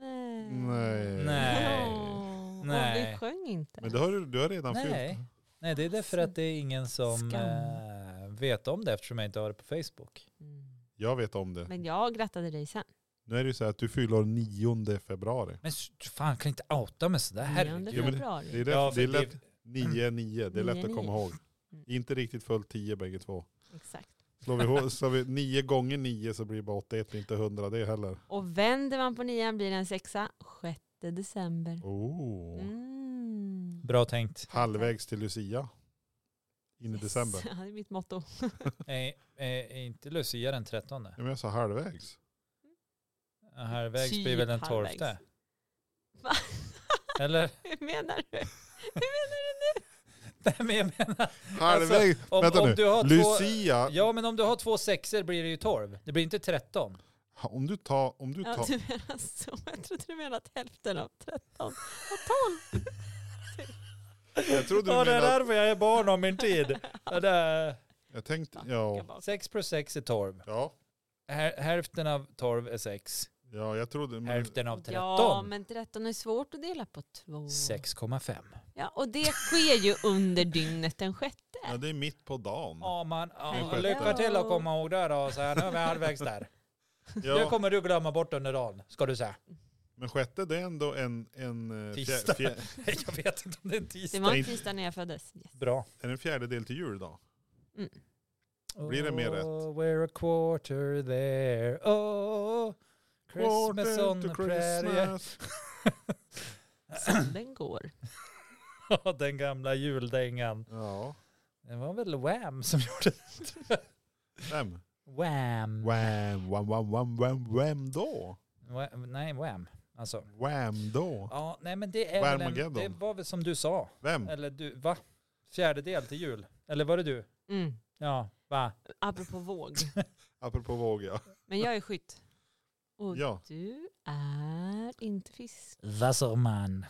Speaker 3: Nej.
Speaker 2: Nej.
Speaker 1: Nej.
Speaker 3: Åh,
Speaker 1: Nej.
Speaker 3: Och vi sjöng inte.
Speaker 2: Men det har du, du har redan fyllt.
Speaker 1: Nej. Nej, det är därför att det är ingen som
Speaker 3: Skam.
Speaker 1: eh, vet om det eftersom jag inte har det på Facebook.
Speaker 3: Mm.
Speaker 2: Jag vet om det.
Speaker 3: Men jag grattade dig sen.
Speaker 2: Nu är det ju så här att du fyller år 9 februari.
Speaker 1: Men s- fan, kan inte outa mig sådär?
Speaker 3: Nionde
Speaker 2: Jo,
Speaker 1: Herregud.
Speaker 2: men-
Speaker 3: februari.
Speaker 2: Det är, lätt,
Speaker 1: Ja,
Speaker 2: det är
Speaker 1: för
Speaker 2: lätt, 9, 9, det är lätt
Speaker 3: Nio,
Speaker 2: att komma
Speaker 3: nio.
Speaker 2: ihåg.
Speaker 3: Mm.
Speaker 2: Inte riktigt fullt 10 bägge två.
Speaker 3: Exakt.
Speaker 2: Slår vi, ihåg- slår vi 9 gånger 9 så blir det bara 81, inte 100 det heller.
Speaker 3: Och vänder man på nian blir det en sexa. 6 december.
Speaker 2: Oh.
Speaker 3: Mm.
Speaker 1: Bra tänkt.
Speaker 2: Halvvägs till Lucia. In i
Speaker 3: Yes.
Speaker 2: december.
Speaker 3: Ja, det är mitt motto. (laughs)
Speaker 1: Är, är, är inte Lucia den 13?
Speaker 2: Ja, men jag sa halvvägs.
Speaker 1: Halvvägs
Speaker 3: Typ
Speaker 1: blir väl den
Speaker 3: halvvägs.
Speaker 1: 12?
Speaker 3: Va?
Speaker 1: Eller?
Speaker 3: Hur menar du? (laughs)
Speaker 1: (laughs) Nej,
Speaker 3: Hur menar du nu?
Speaker 1: men jag menar,
Speaker 2: Halvvägs!
Speaker 1: Alltså, om,
Speaker 2: Vänta
Speaker 1: om
Speaker 2: nu.
Speaker 1: du har två...
Speaker 2: Lucia,
Speaker 1: Ja, men om du har två sexer blir det ju 12. Det blir inte 13.
Speaker 2: Ha, om du tar... Om du
Speaker 3: Ja,
Speaker 2: tar
Speaker 3: du menar så. Jag trodde du menade att hälften av 13.
Speaker 2: jag trodde
Speaker 1: Ja,
Speaker 2: du
Speaker 1: det är
Speaker 2: menade...
Speaker 1: därför jag är barn om min
Speaker 3: (laughs)
Speaker 1: tid. Ja, det är-
Speaker 2: Jag tänkte... Ja,
Speaker 1: Sex plus sex är 12.
Speaker 2: ja,
Speaker 1: Här- Hälften av 12 är 6.
Speaker 2: ja jag trodde... Men,
Speaker 1: Hälften av
Speaker 3: Ja,
Speaker 1: 13.
Speaker 3: men 13 är svårt att dela på två.
Speaker 1: 6,5.
Speaker 3: Ja, och det sker ju under dygnet den sjätte.
Speaker 2: ja, det är mitt på dagen.
Speaker 1: Ja, man. Ja,
Speaker 2: Helvete.
Speaker 1: lycka till att komma ihåg det då. Så här, nu är vi halvvägs där. Det
Speaker 2: (laughs) Ja,
Speaker 1: kommer du glömma bort under dagen, ska du säga. (laughs)
Speaker 2: men sjätte det är ändå en... en eh,
Speaker 1: Tisdag.
Speaker 2: fjär, fjär,
Speaker 1: Jag vet inte om det är en
Speaker 3: Det
Speaker 1: tisdag.
Speaker 3: var en tisdag när jag föddes. Yes.
Speaker 1: Bra.
Speaker 2: är det en fjärdedel till jul då? Blir det mer rätt?
Speaker 1: Oh, we're a quarter there. Oh, Christmas on a prairie.
Speaker 3: Som den går.
Speaker 1: (laughs) Ja, Den gamla juldängan.
Speaker 2: Ja.
Speaker 1: Det var väl Wham som gjorde det.
Speaker 2: Vem?
Speaker 1: Wham.
Speaker 2: Wham, wham, wham, wham, wham, wham då?
Speaker 1: Wham. Nej, Wham. Alltså.
Speaker 2: Wham då?
Speaker 1: Ja, nej men det är väl en,
Speaker 2: Whamageddon.
Speaker 1: Det var väl som du sa.
Speaker 2: Vem?
Speaker 1: Eller du, va? Fjärdedel till jul. Eller var det du?
Speaker 3: Mm.
Speaker 1: Ja, va?
Speaker 3: Apropå våg.
Speaker 2: Apropå våg ja.
Speaker 3: Men jag är skytt. Och
Speaker 2: Ja.
Speaker 3: du är inte fisk.
Speaker 1: Wasserman.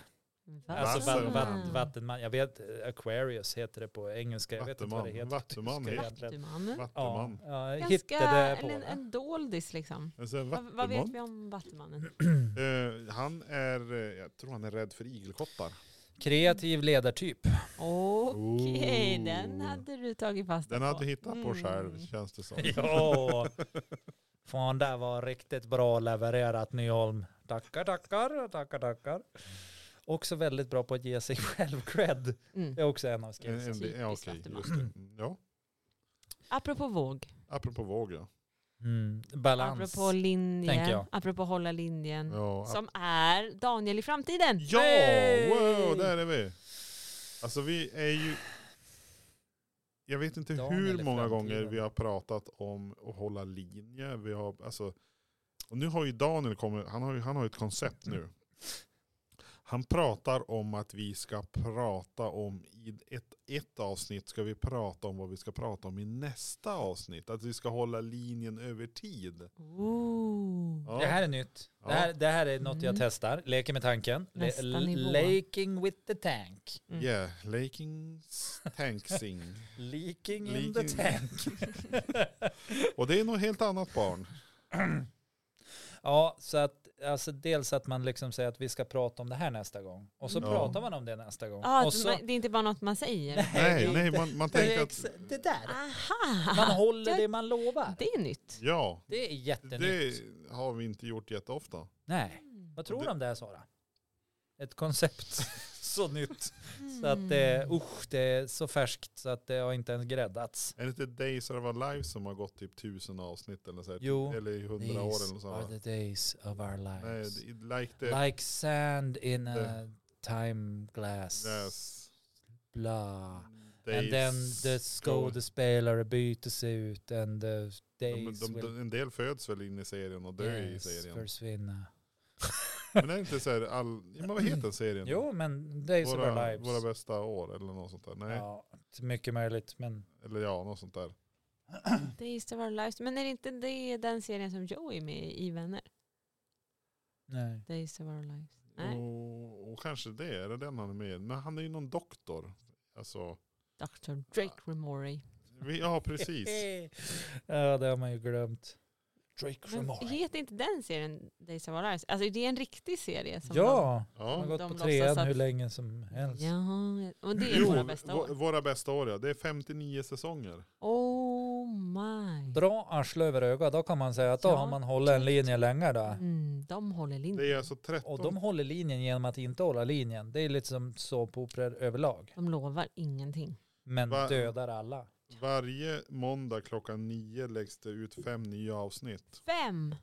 Speaker 1: Alltså
Speaker 2: Wasserman.
Speaker 1: vatt, vatt, vattenman. Jag vet, eh, Aquarius heter det på engelska. Jag vet inte vad det
Speaker 2: Vattenman.
Speaker 1: heter. på
Speaker 2: Vattenman
Speaker 1: tyska
Speaker 2: heter
Speaker 1: egentligen.
Speaker 3: Vattumannen.
Speaker 1: Ja,
Speaker 2: Vattuman.
Speaker 1: ja, jag
Speaker 3: Ganska,
Speaker 1: hittade på
Speaker 3: en,
Speaker 1: det.
Speaker 3: en doldis liksom.
Speaker 2: Alltså,
Speaker 3: Vad, vad vet
Speaker 2: Vattuman.
Speaker 3: vi om Vattumannen?
Speaker 2: Eh, han är, eh, jag tror han är rädd för igelkottar.
Speaker 1: Kreativ
Speaker 2: (laughs)
Speaker 1: ledartyp.
Speaker 3: Okej,
Speaker 2: Ooh.
Speaker 3: den hade du tagit fast
Speaker 2: Den hade hittat på
Speaker 3: Mm.
Speaker 2: själv känns det som.
Speaker 1: (laughs) Ja. Fan, det var riktigt bra levererat Nyholm. Tackar, tackar, tackar, tackar. Också väldigt bra på att ge sig (laughs) själv cred.
Speaker 3: Mm.
Speaker 1: Det är också en av
Speaker 2: En,
Speaker 1: skillsen.
Speaker 2: en,
Speaker 3: Typiskt
Speaker 2: ja, okej,
Speaker 3: Vattuman.
Speaker 2: just det. Mm, ja,
Speaker 3: Apropå våg,
Speaker 2: apropå våg ja.
Speaker 1: Mm. Balans.
Speaker 3: apropå linjen,
Speaker 1: tänker jag.
Speaker 3: apropå hålla linjen.
Speaker 2: Ja, ap-
Speaker 3: Mm. Som är Daniel i framtiden.
Speaker 2: ja
Speaker 1: Hey!
Speaker 2: wow, där är vi. Alltså vi är ju... Jag vet inte
Speaker 1: Dagen
Speaker 2: hur
Speaker 1: eller
Speaker 2: många
Speaker 1: framtiden.
Speaker 2: gånger vi har pratat om att hålla linje. Vi har,
Speaker 1: Mm.
Speaker 2: alltså, och nu har ju Daniel kommit, han har ju, han har ju ett koncept nu. Han pratar om att vi ska prata om, i ett, ett avsnitt ska vi prata om vad vi ska prata om i nästa avsnitt. Att vi ska hålla linjen över tid.
Speaker 3: Ooh.
Speaker 2: Ja.
Speaker 1: Det här är nytt. Det här,
Speaker 2: Ja.
Speaker 1: det här är något jag
Speaker 3: Mm.
Speaker 1: testar. Leker med tanken. Le-
Speaker 3: Nästa nivå.
Speaker 1: Laking with the tank.
Speaker 3: Mm.
Speaker 2: Yeah, Lakings Tanksing.
Speaker 1: Leaking in
Speaker 2: Leaking.
Speaker 1: the tank.
Speaker 2: Och det är nog helt annat barn.
Speaker 1: (laughs) ja, så att alltså dels att man liksom säger att vi ska prata om det här nästa gång. Och så
Speaker 2: Ja.
Speaker 1: pratar man om det nästa gång.
Speaker 3: Ah,
Speaker 1: och
Speaker 3: att
Speaker 1: så,
Speaker 3: man- det är inte bara något man säger.
Speaker 2: Nej, nej, man, man
Speaker 1: det,
Speaker 2: tänker
Speaker 1: är
Speaker 2: att
Speaker 1: ex- det där.
Speaker 3: Aha!
Speaker 1: Man håller
Speaker 3: det-
Speaker 1: det man lovar.
Speaker 3: Ah, Det är nytt.
Speaker 2: ja,
Speaker 1: Det är jättenytt.
Speaker 2: det har vi inte gjort jätteofta.
Speaker 1: Nej. Vad tror du
Speaker 2: Det-
Speaker 1: om det här Sara? Ett
Speaker 2: (laughs)
Speaker 1: koncept så nytt. Så att eh, det,
Speaker 3: Mm.
Speaker 1: usch, det är så färskt så att det har inte ens gräddats.
Speaker 2: Är det inte Days of Our Lives som har gått typ tusen avsnitt eller så här? typ,
Speaker 1: Jo.
Speaker 2: Eller i hundra år eller något
Speaker 1: These
Speaker 2: sånt.
Speaker 1: are
Speaker 2: va?
Speaker 1: the days of our
Speaker 2: Nej,
Speaker 1: lives.
Speaker 2: det- like the...
Speaker 1: Like sand in a
Speaker 2: the-
Speaker 1: time glass.
Speaker 2: Yes.
Speaker 1: Blah.
Speaker 2: Days
Speaker 1: And then the
Speaker 2: go-
Speaker 1: skådespelare bytes ut and the
Speaker 2: De,
Speaker 1: days
Speaker 2: de,
Speaker 1: will
Speaker 2: de, en del föds väl in i serien och dör
Speaker 1: yes,
Speaker 2: i serien.
Speaker 1: försvinna.
Speaker 2: Men är det inte så här all... Ja, men vad heter serien?
Speaker 1: Jo, men days
Speaker 2: våra,
Speaker 1: of our lives.
Speaker 2: våra bästa år eller något sånt där. Nej,
Speaker 1: Ja, mycket möjligt, men (clears throat)
Speaker 2: eller ja, något sånt där.
Speaker 3: Days of our lives. Men är det inte det den serien som Joey är med i, i Vänner?
Speaker 1: nej.
Speaker 3: Days of our lives.
Speaker 1: Mm.
Speaker 3: Nej,
Speaker 2: Och, och kanske det, är det den han är med i? Men han är ju någon doktor. Alltså,
Speaker 3: Dr. Drake Remori.
Speaker 2: vi, ja
Speaker 3: (laughs)
Speaker 2: precis.
Speaker 1: ja, det har man ju glömt. Drake
Speaker 3: Men
Speaker 1: Ramore.
Speaker 3: heter inte den serien Days of our lives? Alltså det är en riktig serie som
Speaker 1: Ja, han har
Speaker 2: Ja.
Speaker 1: gått
Speaker 3: de
Speaker 1: på
Speaker 3: låtsas
Speaker 1: trean
Speaker 3: att-
Speaker 1: hur länge som
Speaker 3: de...
Speaker 1: helst.
Speaker 3: Ja, och det är
Speaker 2: Jo,
Speaker 3: våra bästa
Speaker 2: vå-
Speaker 3: år.
Speaker 2: våra bästa år ja. Det är 59 säsonger.
Speaker 3: Oh my.
Speaker 1: Bra arsle över öga, då kan man säga att då
Speaker 3: Ja,
Speaker 1: har man hållit en linje länge då.
Speaker 3: Mm, de håller linjen.
Speaker 2: Det är alltså
Speaker 1: Och
Speaker 2: 13.
Speaker 1: de håller linjen genom att inte hålla linjen. Det är lite som såpoperor överlag.
Speaker 3: De lovar ingenting.
Speaker 1: Men
Speaker 2: Va-
Speaker 1: dödar alla.
Speaker 2: Varje måndag klockan nio läggs det ut fem nya avsnitt.
Speaker 3: Fem!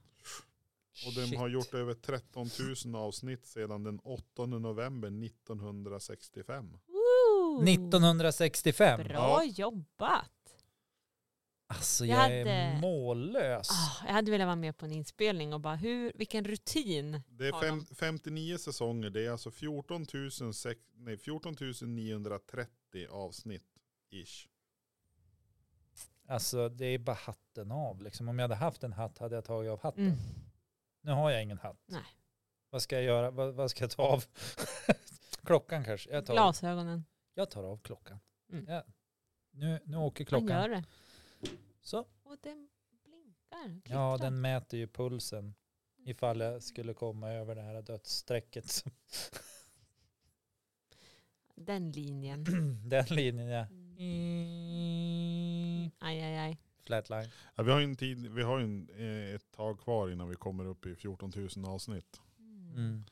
Speaker 2: Och de
Speaker 1: Shit.
Speaker 2: har gjort över 13 000 avsnitt sedan den 8 november 1965.
Speaker 3: Woo!
Speaker 1: 1965.
Speaker 3: Oh. Bra
Speaker 2: Ja.
Speaker 3: jobbat!
Speaker 1: Alltså
Speaker 3: Jag
Speaker 1: jag, är
Speaker 3: hade-
Speaker 1: mållös.
Speaker 3: Ah, jag hade velat vara med på en inspelning och bara hur, vilken rutin.
Speaker 2: Det är
Speaker 3: Har
Speaker 2: fem, 59 säsonger, det är alltså 14, 6, nej, 14 930 avsnitt. Ish.
Speaker 1: Alltså det är bara hatten av. Liksom, om jag hade haft en hatt hade jag tagit av hatten.
Speaker 3: Mm.
Speaker 1: Nu har jag ingen hatt.
Speaker 3: Nej.
Speaker 1: Vad ska jag göra? Vad, vad ska jag ta av? (laughs) klockan kanske. Jag tar,
Speaker 3: Glasögonen.
Speaker 1: jag tar av klockan.
Speaker 3: Mm.
Speaker 1: Ja. Nu, nu åker
Speaker 3: Man gör
Speaker 1: klockan.
Speaker 3: det.
Speaker 1: Så.
Speaker 3: Och den blinkar.
Speaker 1: Ja,
Speaker 3: Klittrar.
Speaker 1: den mäter ju pulsen. Ifall jag skulle komma över det här dödsstrecket. (clears throat) som-
Speaker 3: den linjen.
Speaker 1: Den linjen jag Mm.
Speaker 3: Aj, aj, aj.
Speaker 1: Flatline.
Speaker 2: Ja, vi har ju, en tid, vi har ju en, eh, ett tag kvar innan vi kommer upp i 14 000 avsnitt.
Speaker 1: Mm.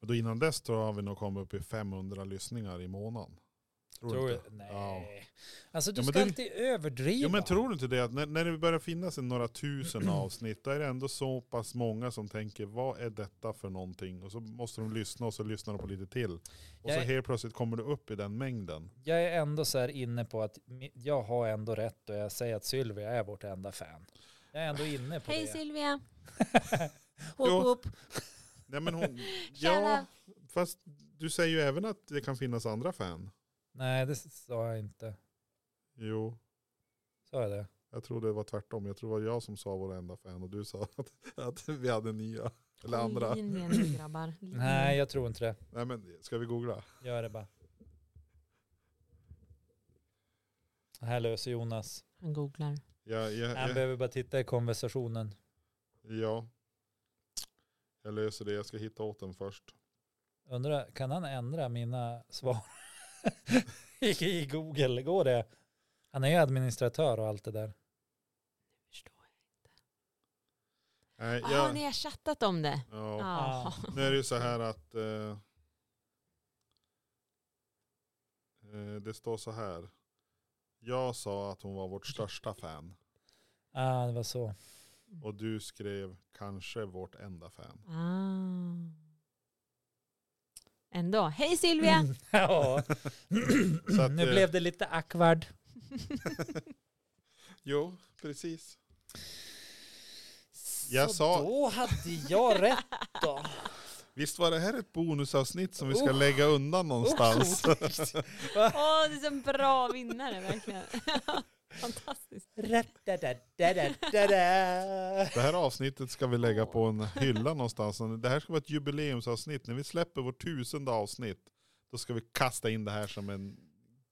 Speaker 2: Och då innan dess tror jag vi nog kommit upp i 500 lyssningar i månaden. Tror,
Speaker 1: Tror
Speaker 2: du
Speaker 1: du?
Speaker 2: inte?
Speaker 1: Nej.
Speaker 2: Ja.
Speaker 1: Alltså du
Speaker 2: Ja, men
Speaker 1: ska
Speaker 2: det-
Speaker 1: alltid överdriva.
Speaker 2: Ja, men tror du inte det att när, när det börjar finnas en några tusen (clears throat) avsnitt, då är det ändå så pass många som tänker vad är detta för någonting? Och så måste de lyssna och så lyssnar de på lite till. Och så
Speaker 1: Jag-
Speaker 2: helt plötsligt kommer du upp i den mängden.
Speaker 1: Jag är ändå så här inne på att mi- jag har ändå rätt och jag säger att Sylvia är vårt enda fan. Jag är ändå inne på
Speaker 3: Hej
Speaker 1: det. (laughs)
Speaker 3: Silvia!
Speaker 2: Jo.
Speaker 3: Hopp, hopp.
Speaker 2: Nej, men hon, ja,
Speaker 3: Tjena.
Speaker 2: fast du säger ju även att det kan finnas andra fan.
Speaker 1: Nej, det sa jag inte.
Speaker 2: Jo,
Speaker 1: Sa jag det?
Speaker 2: jag tror det var tvärtom. Jag tror det var jag som sa vår enda fan och du sa (laughs) att, att vi hade nya. Eller andra.
Speaker 3: Linjen
Speaker 1: (clears throat)
Speaker 3: nu, grabbar. Linjen.
Speaker 1: Nej, jag tror inte det.
Speaker 2: Nej, men ska vi googla?
Speaker 1: Gör det bara. Det här löser Jonas.
Speaker 3: Han googlar.
Speaker 2: Jag, jag,
Speaker 1: Han
Speaker 2: jag,
Speaker 1: behöver bara titta i konversationen.
Speaker 2: ja, jag löser det. Jag ska hitta åt den först.
Speaker 1: Undrar, kan han ändra mina svar (laughs) I, i Google? Går det? Han är ju administratör och allt det där.
Speaker 3: Förstår
Speaker 2: Nej,
Speaker 3: jag. Ah,
Speaker 2: jag,
Speaker 3: ni har chattat om det.
Speaker 2: ja,
Speaker 3: Ja.
Speaker 1: Ah.
Speaker 2: Nu är det ju så här att eh, eh, det står så här. Jag sa att hon var vårt största fan
Speaker 1: Ah, det var så.
Speaker 2: och du skrev kanske vårt enda fan.
Speaker 3: Ah. Ändå. Hej Silvia!
Speaker 1: (laughs) ja.
Speaker 2: Så att,
Speaker 1: (clears throat) nu
Speaker 2: eh,
Speaker 1: blev det lite awkward.
Speaker 2: Jo, precis. Jag sa-
Speaker 1: då hade jag rätt då.
Speaker 2: Visst var det här ett bonusavsnitt som vi ska lägga undan någonstans?
Speaker 3: Åh, det är en bra vinnare verkligen. (laughs) Fantastiskt.
Speaker 2: Det här avsnittet ska vi lägga på en hylla någonstans. Det här ska vara ett jubileumsavsnitt. När vi släpper vårt tusende avsnitt, då ska vi kasta in det här som en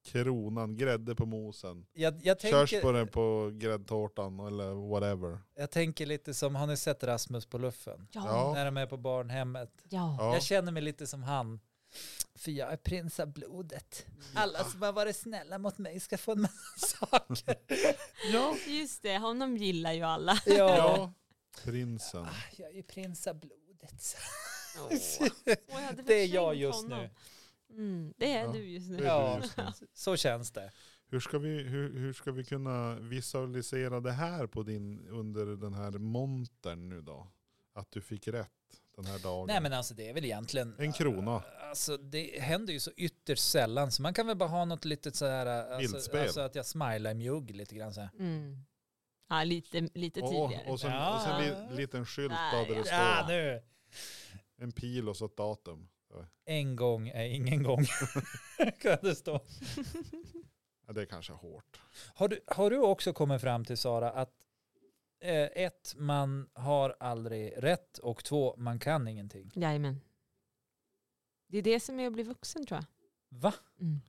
Speaker 2: kronan, grädde på mosen.
Speaker 1: Jag, jag, tänker,
Speaker 2: Körsbären på gräddtårtan eller whatever.
Speaker 1: jag tänker lite som, har ni sett Rasmus på luffen?
Speaker 2: Ja.
Speaker 3: Ja.
Speaker 1: När de är på barnhemmet.
Speaker 3: Ja.
Speaker 2: Ja.
Speaker 1: Jag känner mig lite som han. För jag är prins av blodet. Alla som har varit snälla mot mig ska få en massa saker.
Speaker 2: Ja.
Speaker 3: Just det, honom gillar ju alla.
Speaker 1: Ja,
Speaker 2: ja. Prinsen.
Speaker 1: jag är ju prins av blodet.
Speaker 3: (laughs) Åh. jag hade
Speaker 1: Det är
Speaker 3: förträngt
Speaker 1: jag just
Speaker 3: honom.
Speaker 1: nu.
Speaker 3: Mm, det är
Speaker 2: Ja.
Speaker 3: du just
Speaker 2: Det är du
Speaker 3: nu.
Speaker 1: Ja.
Speaker 2: just nu.
Speaker 1: (laughs) Så känns det.
Speaker 2: Hur ska, vi, hur, hur ska vi kunna visualisera det här på din, under den här montern nu då? Att du fick rätt den här dagen.
Speaker 1: Nej men alltså det är väl egentligen.
Speaker 2: En krona.
Speaker 1: Alltså det händer ju så ytterst sällan så man kan väl bara ha något litet så här. Alltså,
Speaker 2: Bildspel.
Speaker 1: alltså att jag smilar i mjugg lite grann så här.
Speaker 3: Mm. Ja, lite, lite tidigare.
Speaker 2: och, och sen,
Speaker 1: Ja.
Speaker 2: och sen li, liten skylt då, där det
Speaker 1: Ja
Speaker 2: står
Speaker 1: nu.
Speaker 2: en pil och så ett datum.
Speaker 1: En gång är ingen gång. (laughs) kan det stå.
Speaker 2: Ja, det är kanske är hårt.
Speaker 1: Har du, har du också kommit fram till Sara att eh, ett, man har aldrig rätt och två, man kan ingenting?
Speaker 3: Jajamän. Det är det som är att bli vuxen tror jag.
Speaker 1: Va?
Speaker 3: Mm.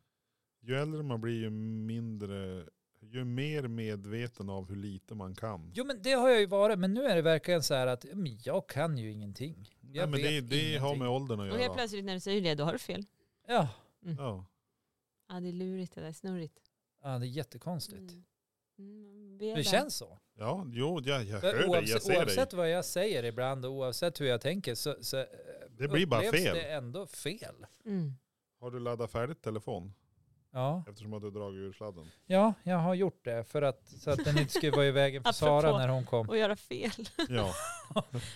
Speaker 2: Ju äldre man blir ju mindre, ju mer medveten av hur lite man kan.
Speaker 1: Jo men det har jag ju varit, men nu är det verkligen så här att ja, men jag kan ju ingenting.
Speaker 2: Nej,
Speaker 1: Jag
Speaker 2: men det
Speaker 1: vet
Speaker 2: det har
Speaker 1: ingenting.
Speaker 2: med åldern att
Speaker 3: Och helt
Speaker 2: göra.
Speaker 3: plötsligt när du säger det, då har du fel.
Speaker 1: Ja,
Speaker 2: Ja.
Speaker 3: Ja, det är lurigt det där, snurrigt.
Speaker 1: ja det är jättekonstigt.
Speaker 3: Mm. Mm, vi är
Speaker 1: Det
Speaker 3: där.
Speaker 1: känns så.
Speaker 2: ja, jo, jag, jag hör
Speaker 1: För
Speaker 2: dig, jag
Speaker 1: Oavsett,
Speaker 2: ser dig.
Speaker 1: oavsett vad jag säger ibland och oavsett hur jag tänker så, så eh,
Speaker 2: Det blir bara
Speaker 1: upplevs
Speaker 2: fel.
Speaker 1: det ändå fel.
Speaker 3: Mm.
Speaker 2: Har du laddat färdigt telefon?
Speaker 1: Ja.
Speaker 2: Eftersom att du dragit ur sladden.
Speaker 1: ja, jag har gjort det för att, så att den inte skulle vara i vägen för
Speaker 3: (laughs) Apropå.
Speaker 1: Sara när hon kom.
Speaker 3: Och göra fel.
Speaker 1: (laughs)
Speaker 2: Ja.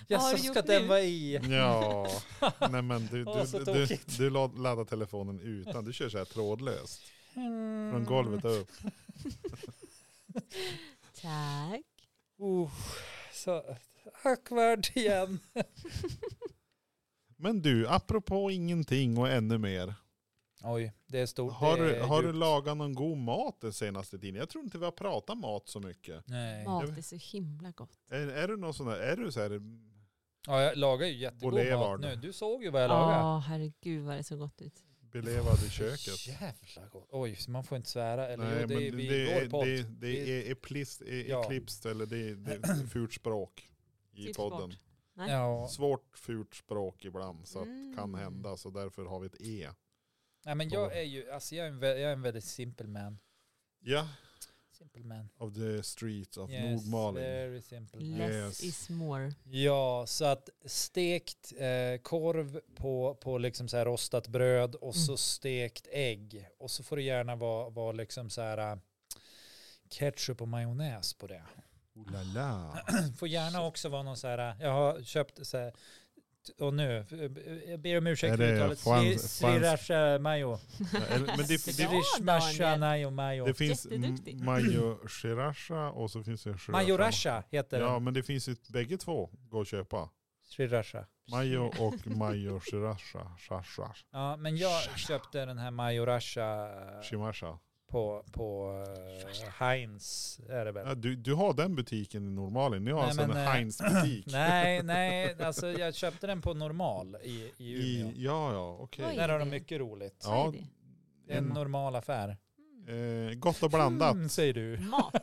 Speaker 1: Jag
Speaker 3: har
Speaker 1: så
Speaker 3: du
Speaker 1: ska
Speaker 3: gjort
Speaker 1: den
Speaker 3: nu?
Speaker 1: vara i.
Speaker 2: Ja, nej men du,
Speaker 1: Åh,
Speaker 2: du,
Speaker 1: så
Speaker 2: du, du,
Speaker 1: tokigt.
Speaker 2: du la- laddar telefonen utan, du kör så här trådlöst.
Speaker 1: Mm.
Speaker 2: Från golvet upp.
Speaker 3: Tack.
Speaker 1: Uh, så awkward igen.
Speaker 2: Men du, apropå ingenting och ännu mer.
Speaker 1: Oj, det är stort.
Speaker 2: Har
Speaker 1: det
Speaker 2: du,
Speaker 1: är
Speaker 2: har du
Speaker 1: djupt.
Speaker 2: lagat någon god mat den senaste tiden? Jag tror inte vi har pratat mat så mycket.
Speaker 1: Nej.
Speaker 3: Mat är så himla gott.
Speaker 2: Är, är du någon sån där, är du så här,
Speaker 1: Ja, jag lagar ju jättegod
Speaker 2: Boulevard.
Speaker 1: mat nu. Du såg ju vad jag lagade.
Speaker 3: Ja, herregud vad det såg gott ut.
Speaker 2: belevad i köket?
Speaker 1: Jävla gott. Oj, så man får inte svära. Eller
Speaker 2: Nej,
Speaker 1: jo, det är
Speaker 2: men
Speaker 1: vi
Speaker 2: det,
Speaker 1: i
Speaker 2: är-
Speaker 1: vår podd.
Speaker 2: det, det är eplist, e-
Speaker 1: Ja.
Speaker 2: eklipst, eller det, det
Speaker 1: (clears throat)
Speaker 2: är fult språk i
Speaker 3: Fult
Speaker 2: podden.
Speaker 3: språk. Nej.
Speaker 1: Ja.
Speaker 2: Svårt fult språk ibland, så att kan
Speaker 3: Mm.
Speaker 2: hända. Så därför har vi ett E.
Speaker 1: Nej, men jag är ju, alltså jag är en, vä- jag är en väldigt simple man.
Speaker 2: Ja,
Speaker 1: Simple man.
Speaker 2: of the streets of
Speaker 1: Yes, eh,
Speaker 2: Nordmaling.
Speaker 1: very simple. man.
Speaker 3: Less
Speaker 2: Yes.
Speaker 3: is more.
Speaker 1: Ja, så att stekt eh, korv på, på liksom så här rostat bröd och så
Speaker 3: Mm.
Speaker 1: stekt ägg. Och så får det gärna vara, vara liksom så här eh, ketchup och majonnäs på det.
Speaker 2: Oh la
Speaker 1: (clears throat)
Speaker 2: la.
Speaker 1: får gärna också vara någon så här, eh, jag har köpt så här, och nu, jag ber om ursäkt
Speaker 2: Är det
Speaker 1: för uttalet,
Speaker 2: frans-
Speaker 1: Sri-
Speaker 2: frans-
Speaker 1: sriracha mayo.
Speaker 2: Ja, eller- Men
Speaker 3: (laughs)
Speaker 2: det, det,
Speaker 3: Bra,
Speaker 1: Sriracha
Speaker 3: Daniel.
Speaker 1: mayo mayo.
Speaker 2: det finns
Speaker 3: Jätteduktig.
Speaker 2: m- mayo sriracha och så finns det sriracha.
Speaker 1: Majorasha heter
Speaker 2: Ja,
Speaker 1: den.
Speaker 2: men det finns ju bägge två. Gå och köpa.
Speaker 1: Sriracha. (laughs)
Speaker 2: Mayo och mayo sriracha. Shasha.
Speaker 1: Ja, men jag köpte den här eh, majorasha
Speaker 2: Shimasha.
Speaker 1: på, på eh, Heinz, är det väl?
Speaker 2: Ja, du, du har den butiken i Nordmaling. Ni har
Speaker 1: Nej,
Speaker 2: alltså en
Speaker 1: men, eh,
Speaker 2: Heinz-butik.
Speaker 1: Nej, nej, alltså jag köpte den på normal i, i Umeå.
Speaker 2: I, ja, ja, okej.
Speaker 3: Oj.
Speaker 1: Där har de mycket roligt.
Speaker 2: Ja,
Speaker 3: Vad är det?
Speaker 1: Det är en
Speaker 2: en-
Speaker 1: normal affär.
Speaker 3: Mm.
Speaker 2: Eh, gott och blandat.
Speaker 1: Mm, säger du.
Speaker 3: Mat.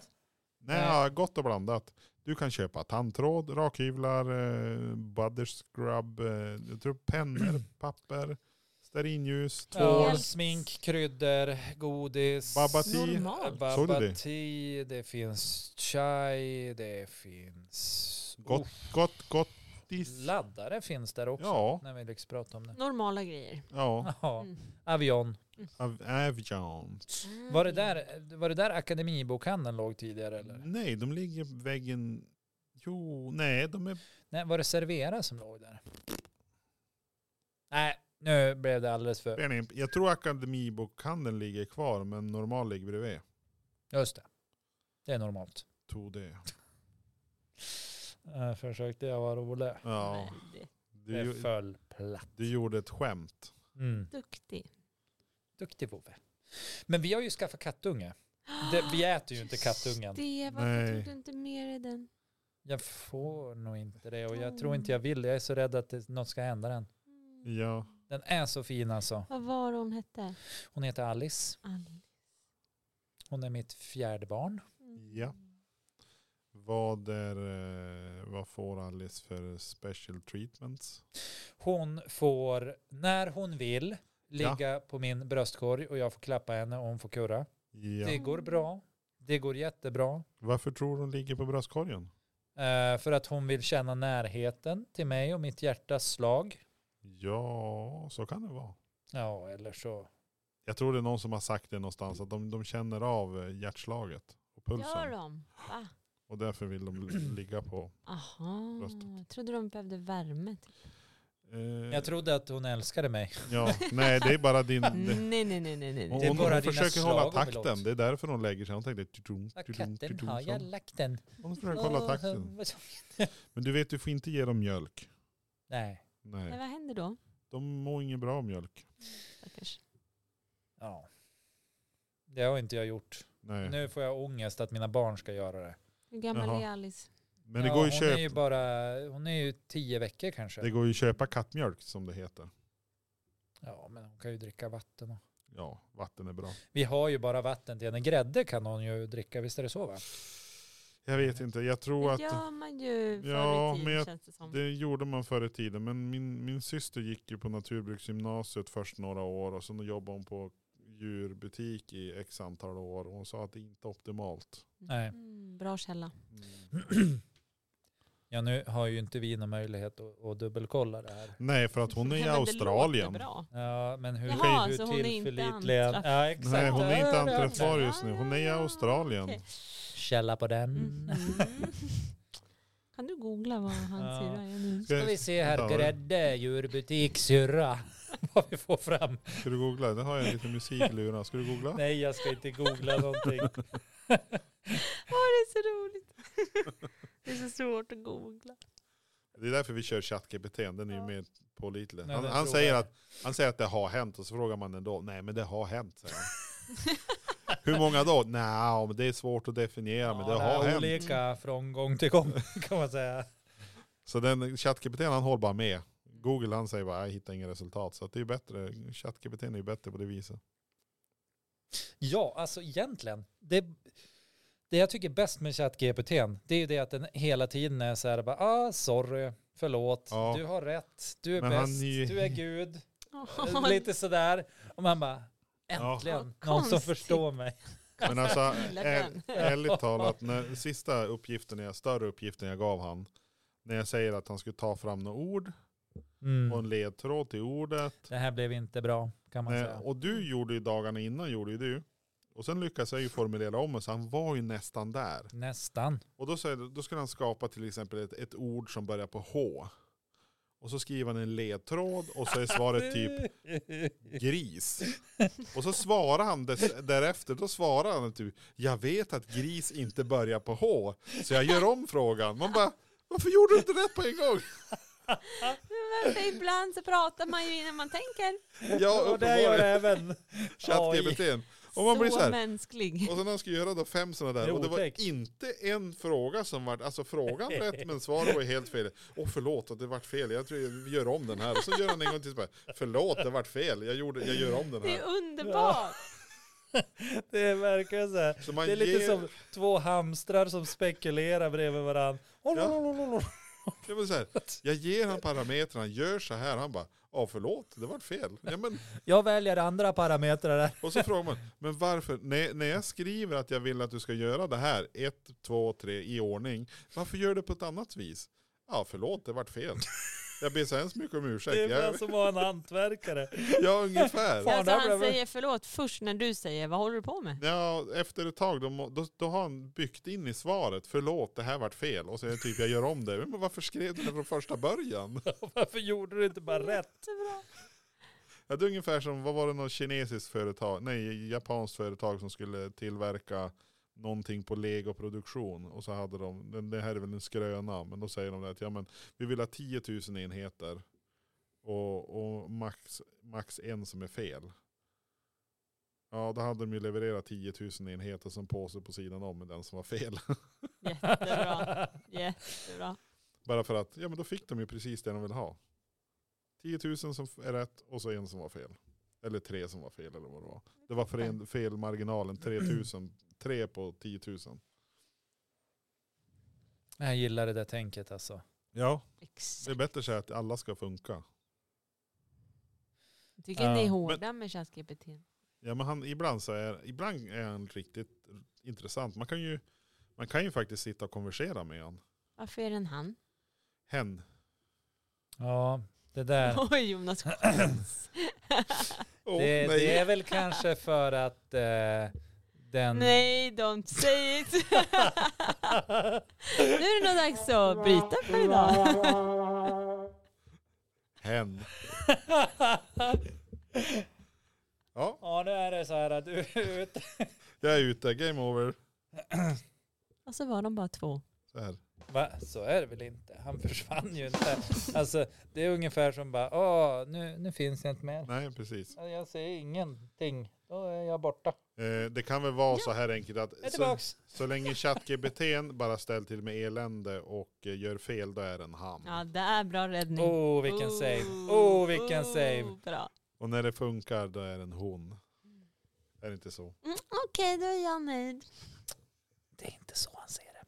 Speaker 2: Nej, ja, gott och blandat. Du kan köpa tandtråd, rakhyvlar, eh, butter scrub, eh, jag tror
Speaker 1: (clears throat)
Speaker 2: pennor, papper, stearinljus, tvål.
Speaker 1: Tvål, smink, kryddor, godis.
Speaker 2: Babati.
Speaker 3: Normalt.
Speaker 2: Såg du det?
Speaker 1: Babati, det finns chai, det finns...
Speaker 2: Gott,
Speaker 1: Oh,
Speaker 2: gott, gottis.
Speaker 1: laddare finns där också,
Speaker 2: Ja,
Speaker 1: när vi lyckas prata om det.
Speaker 3: Normala grejer.
Speaker 2: ja.
Speaker 1: (laughs) Ja,
Speaker 3: Mm.
Speaker 1: Avion.
Speaker 2: Av Avions.
Speaker 1: Var det,
Speaker 3: Mm.
Speaker 1: där, var det där Akademibokhandeln låg tidigare eller?
Speaker 2: Nej, de ligger väggen... Jo, nej, de är...
Speaker 1: Nej, var det Servera som låg där? Nej, nu blev det alldeles för...
Speaker 2: Jag tror Akademibokhandeln ligger kvar, men normal ligger bredvid.
Speaker 1: Just det. Det är normalt.
Speaker 2: Tog det.
Speaker 1: Eh, Försökte jag vara rolig.
Speaker 2: Ja,
Speaker 3: Nej, det-
Speaker 2: Du,
Speaker 1: Det
Speaker 2: ju-
Speaker 1: föll platt.
Speaker 2: du gjorde ett skämt.
Speaker 1: Mm.
Speaker 3: Duktig.
Speaker 1: Duktig vovve. Men vi har ju skaffat kattunge. Det,
Speaker 3: (gasps)
Speaker 1: vi äter ju inte
Speaker 3: Ah, Just
Speaker 1: kattungen.
Speaker 3: Det, varför
Speaker 2: Nej.
Speaker 3: tog du inte med dig den?
Speaker 1: Jag får nog inte det och jag tror inte jag vill. Jag är så rädd att det, något ska hända den.
Speaker 3: Mm.
Speaker 2: Ja.
Speaker 1: Den är så fin alltså.
Speaker 3: Vad var det hon hette?
Speaker 1: Hon heter Alice.
Speaker 3: Ann.
Speaker 1: Hon är mitt fjärde barn.
Speaker 3: Mm.
Speaker 2: Ja. Vad, är, eh, vad får Alice för special treatments?
Speaker 1: Hon får, när hon vill, ligga på min bröstkorg och jag får klappa henne och hon får kurra. Det
Speaker 2: Ja.
Speaker 1: går bra. Det går jättebra.
Speaker 2: Varför tror du hon ligger på bröstkorgen?
Speaker 1: Eh, för att hon vill känna närheten till mig och mitt hjärtas slag.
Speaker 2: Ja, så kan det vara.
Speaker 1: Ja, eller så.
Speaker 2: Jag tror det är någon som har sagt det någonstans, att de, de känner av eh, hjärtslaget och
Speaker 3: Gör
Speaker 2: pulsen.
Speaker 3: de? Va?
Speaker 2: och därför vill de ligga på.
Speaker 3: Aha.
Speaker 2: Bröstet.
Speaker 3: Jag trodde de behövde värme. typ.
Speaker 2: Eh,
Speaker 1: Jag trodde att hon älskade mig.
Speaker 2: ja, nej, det är bara din... Det,
Speaker 3: Nej, nej, nej, nej, nej.
Speaker 2: hon
Speaker 1: Det är
Speaker 2: hon,
Speaker 1: bara
Speaker 2: hon
Speaker 1: dina
Speaker 2: försöker
Speaker 1: slag
Speaker 2: hålla
Speaker 1: hon vill åt.
Speaker 2: takten, det är därför hon lägger sig. Hon tänkte... tudum,
Speaker 1: Ja,
Speaker 2: tudum,
Speaker 1: Katten
Speaker 2: tudum,
Speaker 1: har jag
Speaker 2: så.
Speaker 1: lagt den.
Speaker 2: Hon försöker hålla
Speaker 1: Åh, (laughs)
Speaker 2: takten.
Speaker 1: vad så-
Speaker 2: Men du vet, du får inte ge dem mjölk.
Speaker 1: Nej.
Speaker 3: Men
Speaker 2: Nej,
Speaker 3: vad händer då?
Speaker 2: de mår inget bra av mjölk.
Speaker 3: Stackars.
Speaker 1: Ja. Det har inte jag gjort.
Speaker 2: Nej.
Speaker 1: Nu får jag ångest att mina barn ska göra det.
Speaker 3: Hur gammal
Speaker 2: Jaha.
Speaker 3: är Alice?
Speaker 2: Men det
Speaker 1: ja,
Speaker 2: går ju
Speaker 1: hon är ju
Speaker 2: köp,
Speaker 1: bara, hon är ju tio veckor kanske.
Speaker 2: det går ju köpa kattmjölk som det heter.
Speaker 1: Ja, men hon kan ju dricka vatten. och-
Speaker 2: Ja, vatten är bra.
Speaker 1: Vi har ju bara vatten till henne. Grädde kan hon ju dricka, visst är det så va?
Speaker 2: Jag vet inte, jag tror
Speaker 3: Det
Speaker 2: att
Speaker 3: gör man ju förr
Speaker 2: Ja,
Speaker 3: i tiden
Speaker 2: men jag-
Speaker 3: känns det som.
Speaker 2: det gjorde man förr i tiden. Men min, min syster gick ju på naturbruksgymnasiet först några år och sen jobbade hon på djurbutik i x antal år. Och hon sa att det inte är optimalt.
Speaker 1: Nej.
Speaker 3: Mm, bra källa.
Speaker 1: Mm. Ja, nu har ju inte vi någon möjlighet att, att dubbelkolla det här.
Speaker 2: Nej, för att hon är i
Speaker 3: Ja, men det
Speaker 2: Australien.
Speaker 3: låter bra.
Speaker 1: Ja, men hur,
Speaker 3: Jaha,
Speaker 1: hur
Speaker 3: så hon är inte
Speaker 1: tillförlitliga...
Speaker 3: anträff-
Speaker 1: Ja, exakt.
Speaker 2: Nej, hon är inte
Speaker 1: Ja, ja,
Speaker 2: anträffbar
Speaker 1: ja.
Speaker 2: just nu. Hon är i Australien.
Speaker 3: Ah, Okej.
Speaker 1: Källa på den.
Speaker 3: Mhm. (laughs) Kan du googla vad han
Speaker 1: Ja.
Speaker 3: syrra är
Speaker 2: (laughs)
Speaker 3: nu?
Speaker 1: Ska vi se här,
Speaker 2: Ja.
Speaker 1: grädde, djurbutik, syrra. (laughs) Vad vi får fram.
Speaker 2: Ska du googla? Det har jag lite musik i lurarna. Ska du googla?
Speaker 1: Nej, jag ska inte googla någonting.
Speaker 3: Åh, det är så
Speaker 2: (laughs)
Speaker 3: roligt. det är så svårt att googla.
Speaker 2: Det är därför vi kör ChatGPT, den är ju
Speaker 3: Ja.
Speaker 2: mer pålitlig.
Speaker 1: Nej,
Speaker 2: Han,
Speaker 1: den
Speaker 2: han,
Speaker 1: tror
Speaker 2: säger
Speaker 1: jag.
Speaker 2: att, han säger att det har hänt och så frågar man den då. Nej men det har hänt säger han. Hur många då? Nej, men det är svårt att definiera men det har hänt.
Speaker 1: Olika från gång till gång kan man säga.
Speaker 2: Så den ChatGPT han håller bara med. Google han säger bara jag hittar inga resultat. Så att det är bättre, ChatGPT är ju bättre på det viset.
Speaker 1: Ja, alltså egentligen. Det, det jag tycker är bäst med ChatGPT, det är ju det att den hela tiden är så här bara, ah, sorry, förlåt,
Speaker 2: Ja.
Speaker 1: du har rätt, du är
Speaker 2: Men han
Speaker 1: bäst,
Speaker 2: är ju-
Speaker 1: du är
Speaker 3: (laughs)
Speaker 1: gud, Eh,
Speaker 3: Åh,
Speaker 1: lite sådär. Och man bara,
Speaker 2: Ja.
Speaker 1: äntligen,
Speaker 3: Vad
Speaker 1: någon som
Speaker 3: konstigt.
Speaker 1: förstår mig.
Speaker 2: Men alltså,
Speaker 3: gillar
Speaker 2: är,
Speaker 3: den.
Speaker 2: (laughs) ärligt talat, när, sista uppgiften, jag, större uppgiften jag gav han, när jag säger att han skulle ta fram några ord och en
Speaker 1: Mm.
Speaker 2: ledtråd till ordet.
Speaker 1: Det här blev inte bra, kan man
Speaker 2: Nej,
Speaker 1: säga.
Speaker 2: Eh,
Speaker 1: Mm.
Speaker 2: och du gjorde ju dagarna innan, gjorde ju du. Och sen lyckades jag ju formulera om mig, så han var ju nästan där.
Speaker 1: Nästan.
Speaker 2: Och då, säger, då skulle han skapa till exempel ett, ett ord som börjar på H. Och så skriver han en ledtråd och så är
Speaker 1: (laughs)
Speaker 2: svaret typ gris. Och så svarar han dess, därefter, då svarar han typ jag vet att gris inte börjar på H. Så jag gör om frågan. Man bara, varför gjorde du inte rätt på en gång?
Speaker 3: Men varför ibland så pratar man ju innan man tänker.
Speaker 2: Ja,
Speaker 1: och det gör
Speaker 2: uppenbarligen. (laughs)
Speaker 1: även (laughs) AI.
Speaker 2: ChatGPT. Och man blir så här,
Speaker 3: mänsklig.
Speaker 2: Och sen när han skulle göra då fem sådana
Speaker 1: Det
Speaker 2: där.
Speaker 1: är
Speaker 2: Och det var
Speaker 1: otäckt.
Speaker 2: inte en fråga som var, alltså frågan rätt men svaret var ju helt fel. Åh förlåt att det vart fel, jag tror vi gör om den här. Och så gör han en gång till så bara, förlåt det vart fel, jag, gjorde, jag gör om den
Speaker 3: Det är
Speaker 2: här.
Speaker 3: underbart.
Speaker 1: Det är verkligen så här.
Speaker 2: Så man
Speaker 1: det är lite
Speaker 2: ger-
Speaker 1: som två hamstrar som spekulerar bredvid varandra.
Speaker 2: Jag, vill så här, jag ger han parametrarna, gör så här, han bara, ja förlåt det vart fel. Ja, men,
Speaker 1: Jag väljer andra parametrar där.
Speaker 2: och så frågar man, men varför, när, när jag skriver att jag vill att du ska göra det här, ett, två, tre i ordning, varför gör du på ett annat vis? Ja förlåt det vart fel. Jag ber så hemskt mycket om ursäkt.
Speaker 1: Det är bara
Speaker 2: Jag,
Speaker 1: som att vara en (laughs) hantverkare.
Speaker 2: ja ungefär.
Speaker 1: Fan,
Speaker 3: alltså,
Speaker 1: där
Speaker 3: han
Speaker 1: blev-
Speaker 3: säger förlåt först när du säger vad håller du på med?
Speaker 2: Ja, efter ett tag då, må- då, då har han byggt in i svaret, förlåt det här vart fel. Och så är det typ jag gör om det. Men varför skrev du det från första början?
Speaker 1: Varför gjorde du inte
Speaker 3: Mm.
Speaker 1: bara rätt?
Speaker 3: Jättebra.
Speaker 2: Ja, det är ungefär som, vad var det något kinesiskt företag, nej japanskt företag som skulle tillverka någonting på legoproduktion. Och så hade de, den- det här är väl en skröna, men då säger de att ja, men vi vill ha 10 000 enheter. Och, och max, max en som är fel. Ja, då hade de ju levererat 10 000 enheter som påse på sidan om med den som var fel.
Speaker 3: Jättebra. Jättebra.
Speaker 2: Bara för att, ja men då fick de ju precis det de vill ha. 10 000 som är rätt och så en som var fel. Eller tre som var fel eller vad det var. Det var fel, felmarginalen, 3 000. Tre på 10 000.
Speaker 1: (laughs) Jag gillar det där tänket alltså.
Speaker 2: Ja. Det är
Speaker 3: Exakt.
Speaker 2: bättre så här att alla ska funka.
Speaker 3: Jag tycker ni är
Speaker 1: Ja.
Speaker 3: hårda med ChatGPT.
Speaker 2: Ja, men han, ibland, så är, ibland är han riktigt intressant. Man kan, ju, man kan ju faktiskt sitta och konversera med han.
Speaker 3: Varför är den han?
Speaker 2: Hen.
Speaker 1: Ja, det där.
Speaker 3: (laughs) Oj
Speaker 1: (clears throat)
Speaker 3: Jonas skäms.
Speaker 2: Åh,
Speaker 1: det,
Speaker 2: nej.
Speaker 1: det är väl kanske för att eh, den... (laughs)
Speaker 3: Nej, don't say it. (laughs) nu är det nog dags att bryta för idag.
Speaker 1: (laughs)
Speaker 2: Hen. Ja,
Speaker 1: ja, nu är det så här att du är ute.
Speaker 2: jag är ute. Game over.
Speaker 3: Och så var de bara två.
Speaker 2: Så här.
Speaker 1: Va? Så är det väl inte? Han försvann ju inte. Alltså, det är ungefär som bara, åh, nu, nu finns jag inte mer.
Speaker 2: Nej, precis.
Speaker 1: Jag ser ingenting. Då är jag borta.
Speaker 2: Eh, det kan väl vara så här enkelt
Speaker 1: Jag är
Speaker 2: att så,
Speaker 1: tillbaks.
Speaker 2: så länge ChatGPT bara ställer till med elände och eh, gör fel, då är den han.
Speaker 3: Ja, det är bra räddning.
Speaker 1: Åh, oh, vilken save. Åh, oh, vilken save.
Speaker 3: Oh, Bra.
Speaker 2: Och när det funkar, då är den hon. Är det inte så?
Speaker 3: Mm, Okej, då är jag nöjd.
Speaker 1: Det är inte så han ser det.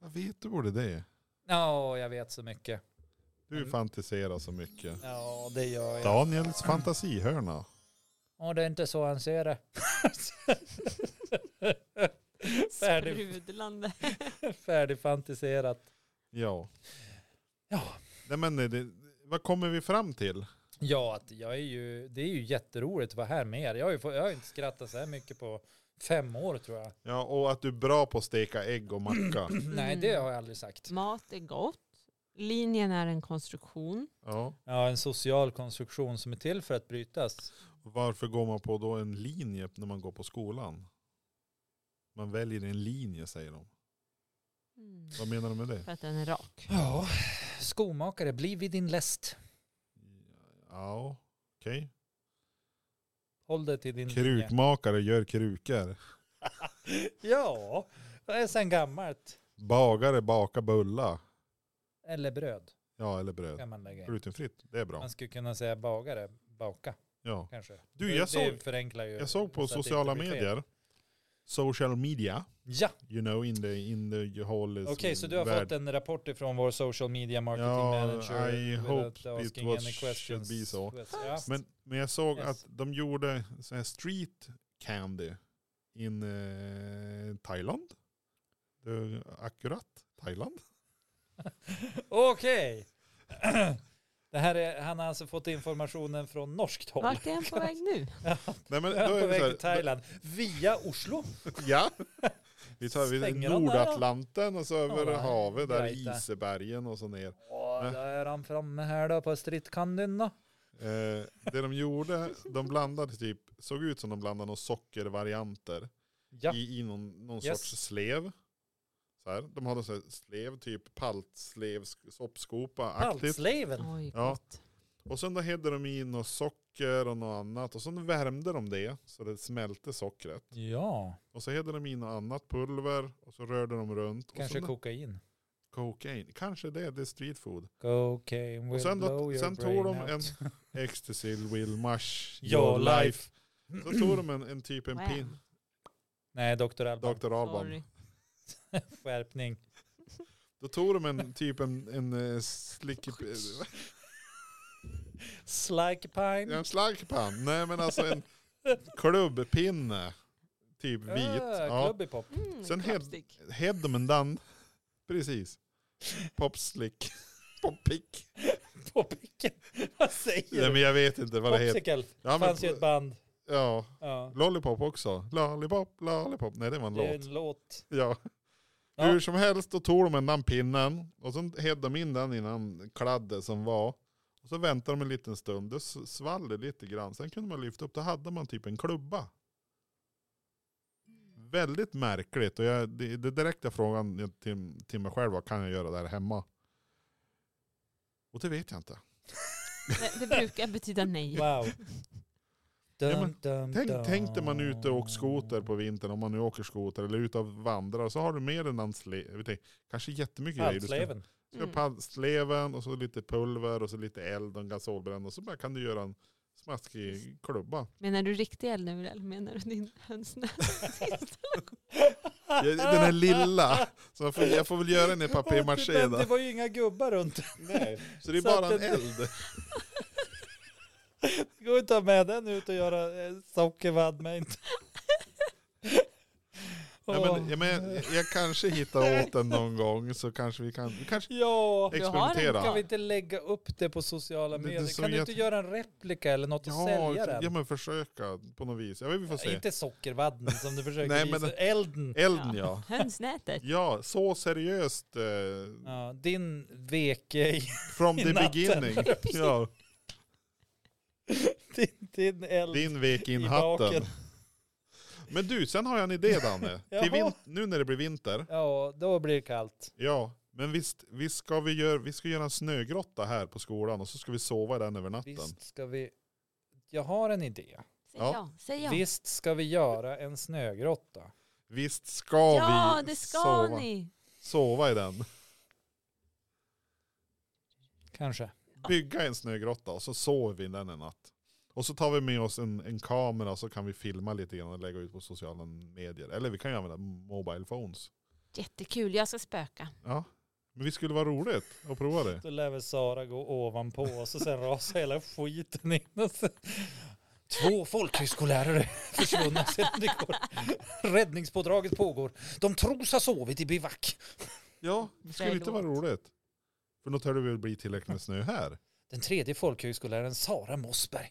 Speaker 2: Jag vet du borde det?
Speaker 1: Ja, jag vet så mycket.
Speaker 2: Du fantiserar så mycket.
Speaker 1: Ja, det gör jag.
Speaker 2: Daniels fantasihörna.
Speaker 1: Åh, det är inte så han ser (laughs) det. Färdig.
Speaker 3: Sprudlande.
Speaker 1: Färdigfantiserat.
Speaker 2: Ja.
Speaker 1: Ja.
Speaker 2: Nej, men eh, det, vad kommer vi fram till?
Speaker 1: Ja, att jag är ju, det är ju jätteroligt att vara här med er. Jag har ju fått, jag har inte skrattat så här mycket på fem år tror jag. (clears throat)
Speaker 2: Ja, och att du är bra på att steka ägg och macka.
Speaker 1: Nej, det har jag aldrig sagt.
Speaker 3: Mat är gott. Linjen är en konstruktion.
Speaker 2: Ja.
Speaker 1: Ja, en social konstruktion som är till för att brytas.
Speaker 2: Varför går man på då en linje när man går på skolan? Man väljer en linje säger de.
Speaker 3: Mm.
Speaker 2: Vad menar de med det?
Speaker 3: För att den är rak.
Speaker 1: Ja, skomakare, bli vid din läst.
Speaker 2: Ja, okej.
Speaker 1: Håll dig till din linje.
Speaker 2: Krukmakare gör krukor.
Speaker 1: Ja, det är sen gammalt.
Speaker 2: Bagare bakar bulla.
Speaker 1: Eller bröd
Speaker 2: Ja, eller bröd.
Speaker 1: kan man lägga in.
Speaker 2: Glutenfritt, det är bra.
Speaker 1: Man skulle kunna säga bagare, baka
Speaker 2: Ja.
Speaker 1: kanske.
Speaker 2: Du,
Speaker 1: Det-
Speaker 2: jag
Speaker 1: det
Speaker 2: såg-
Speaker 1: förenklar ju.
Speaker 2: Jag såg på
Speaker 1: så att det
Speaker 2: sociala
Speaker 1: inte blir fel.
Speaker 2: medier, social media,
Speaker 1: Ja,
Speaker 2: you know, in the, in the whole
Speaker 1: okej, så du har fått en rapport ifrån vår social media marketing
Speaker 2: Ja,
Speaker 1: manager.
Speaker 2: I
Speaker 1: without
Speaker 2: hope it
Speaker 1: asking
Speaker 2: was-
Speaker 1: any questions.
Speaker 2: should be so.
Speaker 1: Ja.
Speaker 2: Men, men jag såg
Speaker 1: Yes.
Speaker 2: att de gjorde så här street candy in eh, Thailand. Det är akkurat Thailand. (laughs)
Speaker 1: Okej. (clears throat) Det här är, han har alltså fått informationen från norskt håll. (laughs)
Speaker 3: Vart är den på väg nu?
Speaker 2: Nej, men
Speaker 1: Då är på väg
Speaker 2: så
Speaker 1: till Thailand via Oslo.
Speaker 2: (laughs) Ja. Vi tar vi
Speaker 1: Svänger de där då?
Speaker 2: Nordatlanten och så över
Speaker 1: Ja,
Speaker 2: havet, där
Speaker 1: right
Speaker 2: i
Speaker 1: där.
Speaker 2: isbergen och så ner.
Speaker 1: Åh,
Speaker 2: Nej.
Speaker 1: då är han framme här då på strittkandin då.
Speaker 2: Eh, det de gjorde, de blandade typ, såg ut som de blandade några sockervarianter
Speaker 1: Ja,
Speaker 2: i, i någon, någon
Speaker 1: Yes.
Speaker 2: sorts slev. Så här. De hade så här slev, typ paltslev, soppskopa-aktigt.
Speaker 1: paltsleven.
Speaker 3: (laughs) Oj,
Speaker 2: Ja.
Speaker 3: gott.
Speaker 2: Och sen då hällde de in och socker och något annat och sen värmde de det så det smälte sockret.
Speaker 1: Ja,
Speaker 2: Och så hällde de in något annat pulver och så rörde de runt.
Speaker 1: kanske
Speaker 2: och sen
Speaker 1: kokain.
Speaker 2: kokain. Kanske det, det är street food.
Speaker 1: Cocaine will
Speaker 2: och sen,
Speaker 1: blow
Speaker 2: då,
Speaker 1: your
Speaker 2: sen
Speaker 1: brain
Speaker 2: tog de
Speaker 1: out. (laughs)
Speaker 2: en ecstasy will mush
Speaker 1: Your life.
Speaker 2: Så tog de en, en typ en
Speaker 3: Wow.
Speaker 2: pin,
Speaker 1: Nej, Dr. Alban.
Speaker 2: Dr. Alban.
Speaker 3: Sorry.
Speaker 1: Skärpning.
Speaker 2: Då tog de en typ en, en eh, slick... eh,
Speaker 1: Slikepine.
Speaker 2: (laughs) En slagpann. Nej men alltså en klubbpinne. Typ vit.
Speaker 1: Äh,
Speaker 2: Ja.
Speaker 1: Clubby pop. (laughs)
Speaker 3: Mm,
Speaker 2: Sen hed-
Speaker 3: slapstick.
Speaker 2: Hedmendan. Precis.
Speaker 1: (laughs)
Speaker 2: Popslick. Poppick.
Speaker 1: På picken. Vad säger
Speaker 2: Nej
Speaker 1: du?
Speaker 2: men jag vet inte vad det heter.
Speaker 1: Popsicle.
Speaker 2: Ja, men,
Speaker 1: Fanns ju ett band.
Speaker 2: ja,
Speaker 1: Ja.
Speaker 2: Lollipop också. Lollipop, Lollipop. Nej det var en
Speaker 1: Det är
Speaker 2: låt.
Speaker 1: en låt.
Speaker 2: Ja.
Speaker 1: Ja.
Speaker 2: Hur som helst, då tog de en den pinnen och sen hedde de in den innan kladdet som var. Och så väntade de en liten stund, det s- svall det lite grann. Sen kunde man lyfta upp, då hade man typ en klubba. Väldigt märkligt och jag, det, det direkta frågan jag till, till mig själv var, kan jag göra det här hemma? Och det vet jag inte.
Speaker 3: Nej, Det brukar betyda nej.
Speaker 1: Wow. Dun,
Speaker 2: Ja, men
Speaker 1: dun,
Speaker 2: Tänk,
Speaker 1: dun.
Speaker 2: tänk när man är ute och åker skoter på vintern, om man nu åker skoter eller är ute och vandrar, så har du med en handslev. Kanske jättemycket grejer. Du ska,
Speaker 1: Pallsleven.
Speaker 2: ska
Speaker 3: Mm.
Speaker 2: ha handsleven och så lite pulver och så lite eld och en gasolbränd och så bara kan du göra en smaskig
Speaker 1: (laughs)
Speaker 2: klubba.
Speaker 3: Menar du riktig eldnur eller menar du din hönsnäsinstallation?
Speaker 2: Jag- Den här lilla. Så jag får, jag får väl
Speaker 1: (laughs)
Speaker 2: göra en i papier-maché
Speaker 1: Det (laughs)
Speaker 2: då.
Speaker 1: var ju inga gubbar runt.
Speaker 2: Nej, så det är
Speaker 1: Så att
Speaker 2: bara en
Speaker 1: den-
Speaker 2: eld.
Speaker 1: Det går inte att ta med den ut och göra eh, sockervadd
Speaker 2: (laughs)
Speaker 1: med inte.
Speaker 2: Nej, men,
Speaker 1: Åh.
Speaker 2: jag, men, jag kanske hittar åt den någon gång så kanske vi kan, vi kanske
Speaker 1: Ja,
Speaker 3: du har den
Speaker 2: experimentera.
Speaker 1: kan
Speaker 3: kvar.
Speaker 1: vi inte lägga upp det på sociala
Speaker 2: Det- det är
Speaker 1: medier?
Speaker 2: som
Speaker 1: Kan du
Speaker 2: jag-
Speaker 1: inte göra en replika eller något och (laughs) sälja
Speaker 2: Ja,
Speaker 1: den?
Speaker 2: ja, men försöka på något vis. Ja, men vi får se.
Speaker 1: inte sockervadden som du försöker
Speaker 2: (laughs) Nej, men
Speaker 1: visa,
Speaker 2: den-
Speaker 1: elden.
Speaker 2: Elden ja.
Speaker 3: Hönsnätet.
Speaker 2: Ja, så seriöst. Eh,
Speaker 1: Ja, din veke, i- (laughs)
Speaker 2: from
Speaker 1: I
Speaker 2: the
Speaker 1: natten. (laughs)
Speaker 2: beginning. Ja,
Speaker 1: din, din eld.
Speaker 2: din vek in
Speaker 1: I
Speaker 2: hatten.
Speaker 1: baken.
Speaker 2: Men du, sen har jag en idé
Speaker 1: (laughs)
Speaker 2: Danne. Till
Speaker 1: Jaha.
Speaker 2: vin- nu när det blir vinter.
Speaker 1: Ja, då blir det kallt.
Speaker 2: Ja, men visst, visst ska vi, göra, vi ska göra en snögrotta här på skolan och så ska vi sova i den över natten.
Speaker 1: Visst ska vi... Jag har en idé.
Speaker 3: Säg
Speaker 2: Ja.
Speaker 3: ja, säg ja.
Speaker 1: Visst ska vi göra en snögrotta.
Speaker 2: Visst ska
Speaker 3: ja,
Speaker 2: vi
Speaker 3: det ska
Speaker 2: sova,
Speaker 3: ni.
Speaker 2: sova i den.
Speaker 1: Kanske.
Speaker 2: Bygga en snögrotta och så sover vi i den en natt. Och så tar vi med oss en, en kamera och så kan vi filma lite grann och lägga ut på sociala medier. Eller vi kan ju använda mobile phones.
Speaker 3: Jättekul, jag ska spöka.
Speaker 2: Ja, men vi skulle vara roligt att prova det.
Speaker 1: Då lär väl Sara gå ovanpå oss och sen rasar hela skiten in. Och sen- Två folkhögskollärare (laughs) försvunna sedan igår. Räddningspådraget pågår. De tros ha sovit i bivack.
Speaker 2: Ja, det skulle inte vara roligt. För något hör det väl bli tillräckligt med snö här.
Speaker 1: Den tredje folkhögskolläraren Sara Mossberg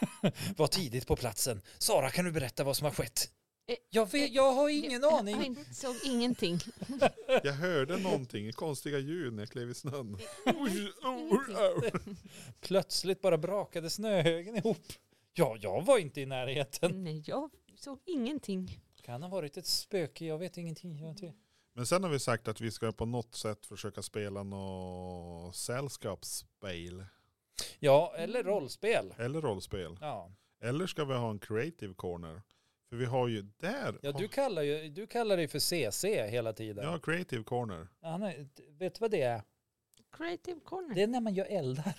Speaker 1: (laughs) var tidigt på platsen. Sara, kan du berätta vad som har skett?
Speaker 3: Eh,
Speaker 1: Jag, vet, jag har ingen aning.
Speaker 3: Jag insåg ingenting.
Speaker 2: Jag hörde någonting, konstiga ljud när jag klev
Speaker 1: (laughs)
Speaker 2: i snön. (laughs)
Speaker 1: Plötsligt bara brakade snöhögen ihop. Ja, jag var inte i närheten.
Speaker 3: Nej, jag såg ingenting.
Speaker 1: Kan ha varit ett spöke, jag vet ingenting. Jag vet inte.
Speaker 2: Men sen har vi sagt att vi ska på något sätt försöka spela något sällskapsspel.
Speaker 1: Ja, eller rollspel.
Speaker 2: Eller rollspel.
Speaker 1: Ja,
Speaker 2: Eller ska vi ha en creative corner? För vi har ju där.
Speaker 1: ja du kallar ju du kallar dig för CC hela tiden.
Speaker 2: ja creative corner.
Speaker 1: Han är, vet du vad det är?
Speaker 3: Creative corner.
Speaker 1: Det är när man gör
Speaker 2: (laughs)
Speaker 1: eldar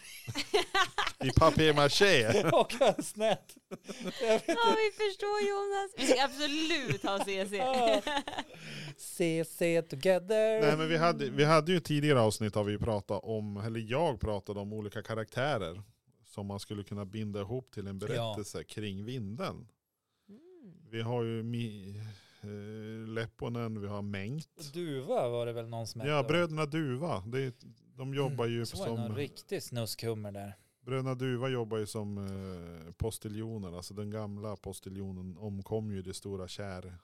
Speaker 2: I papier-maché.
Speaker 1: och hönsnät. Jag vet
Speaker 3: Ja, vi förstår Jonas. Vi ska absolut ha CC.
Speaker 1: Ja. CC together.
Speaker 2: Nej men vi hade, vi hade ju tidigare avsnitt har vi ju pratat om, eller jag pratade om olika karaktärer som man skulle kunna binda ihop till en berättelse kring vinden.
Speaker 3: Mm.
Speaker 2: Vi har ju Mi, eh, Lepponen, vi har Mengt.
Speaker 1: Duva var det väl någon som
Speaker 2: Ja,
Speaker 1: hette, va?
Speaker 2: Bröderna Duva. Det, är- de jobbar ju
Speaker 1: Mm, Så var det någon
Speaker 2: som,
Speaker 1: riktig snuskhummer där.
Speaker 2: Bröderna Duva jobbar ju som eh, postiljoner, alltså den gamla postiljonen omkom ju i det stora kär,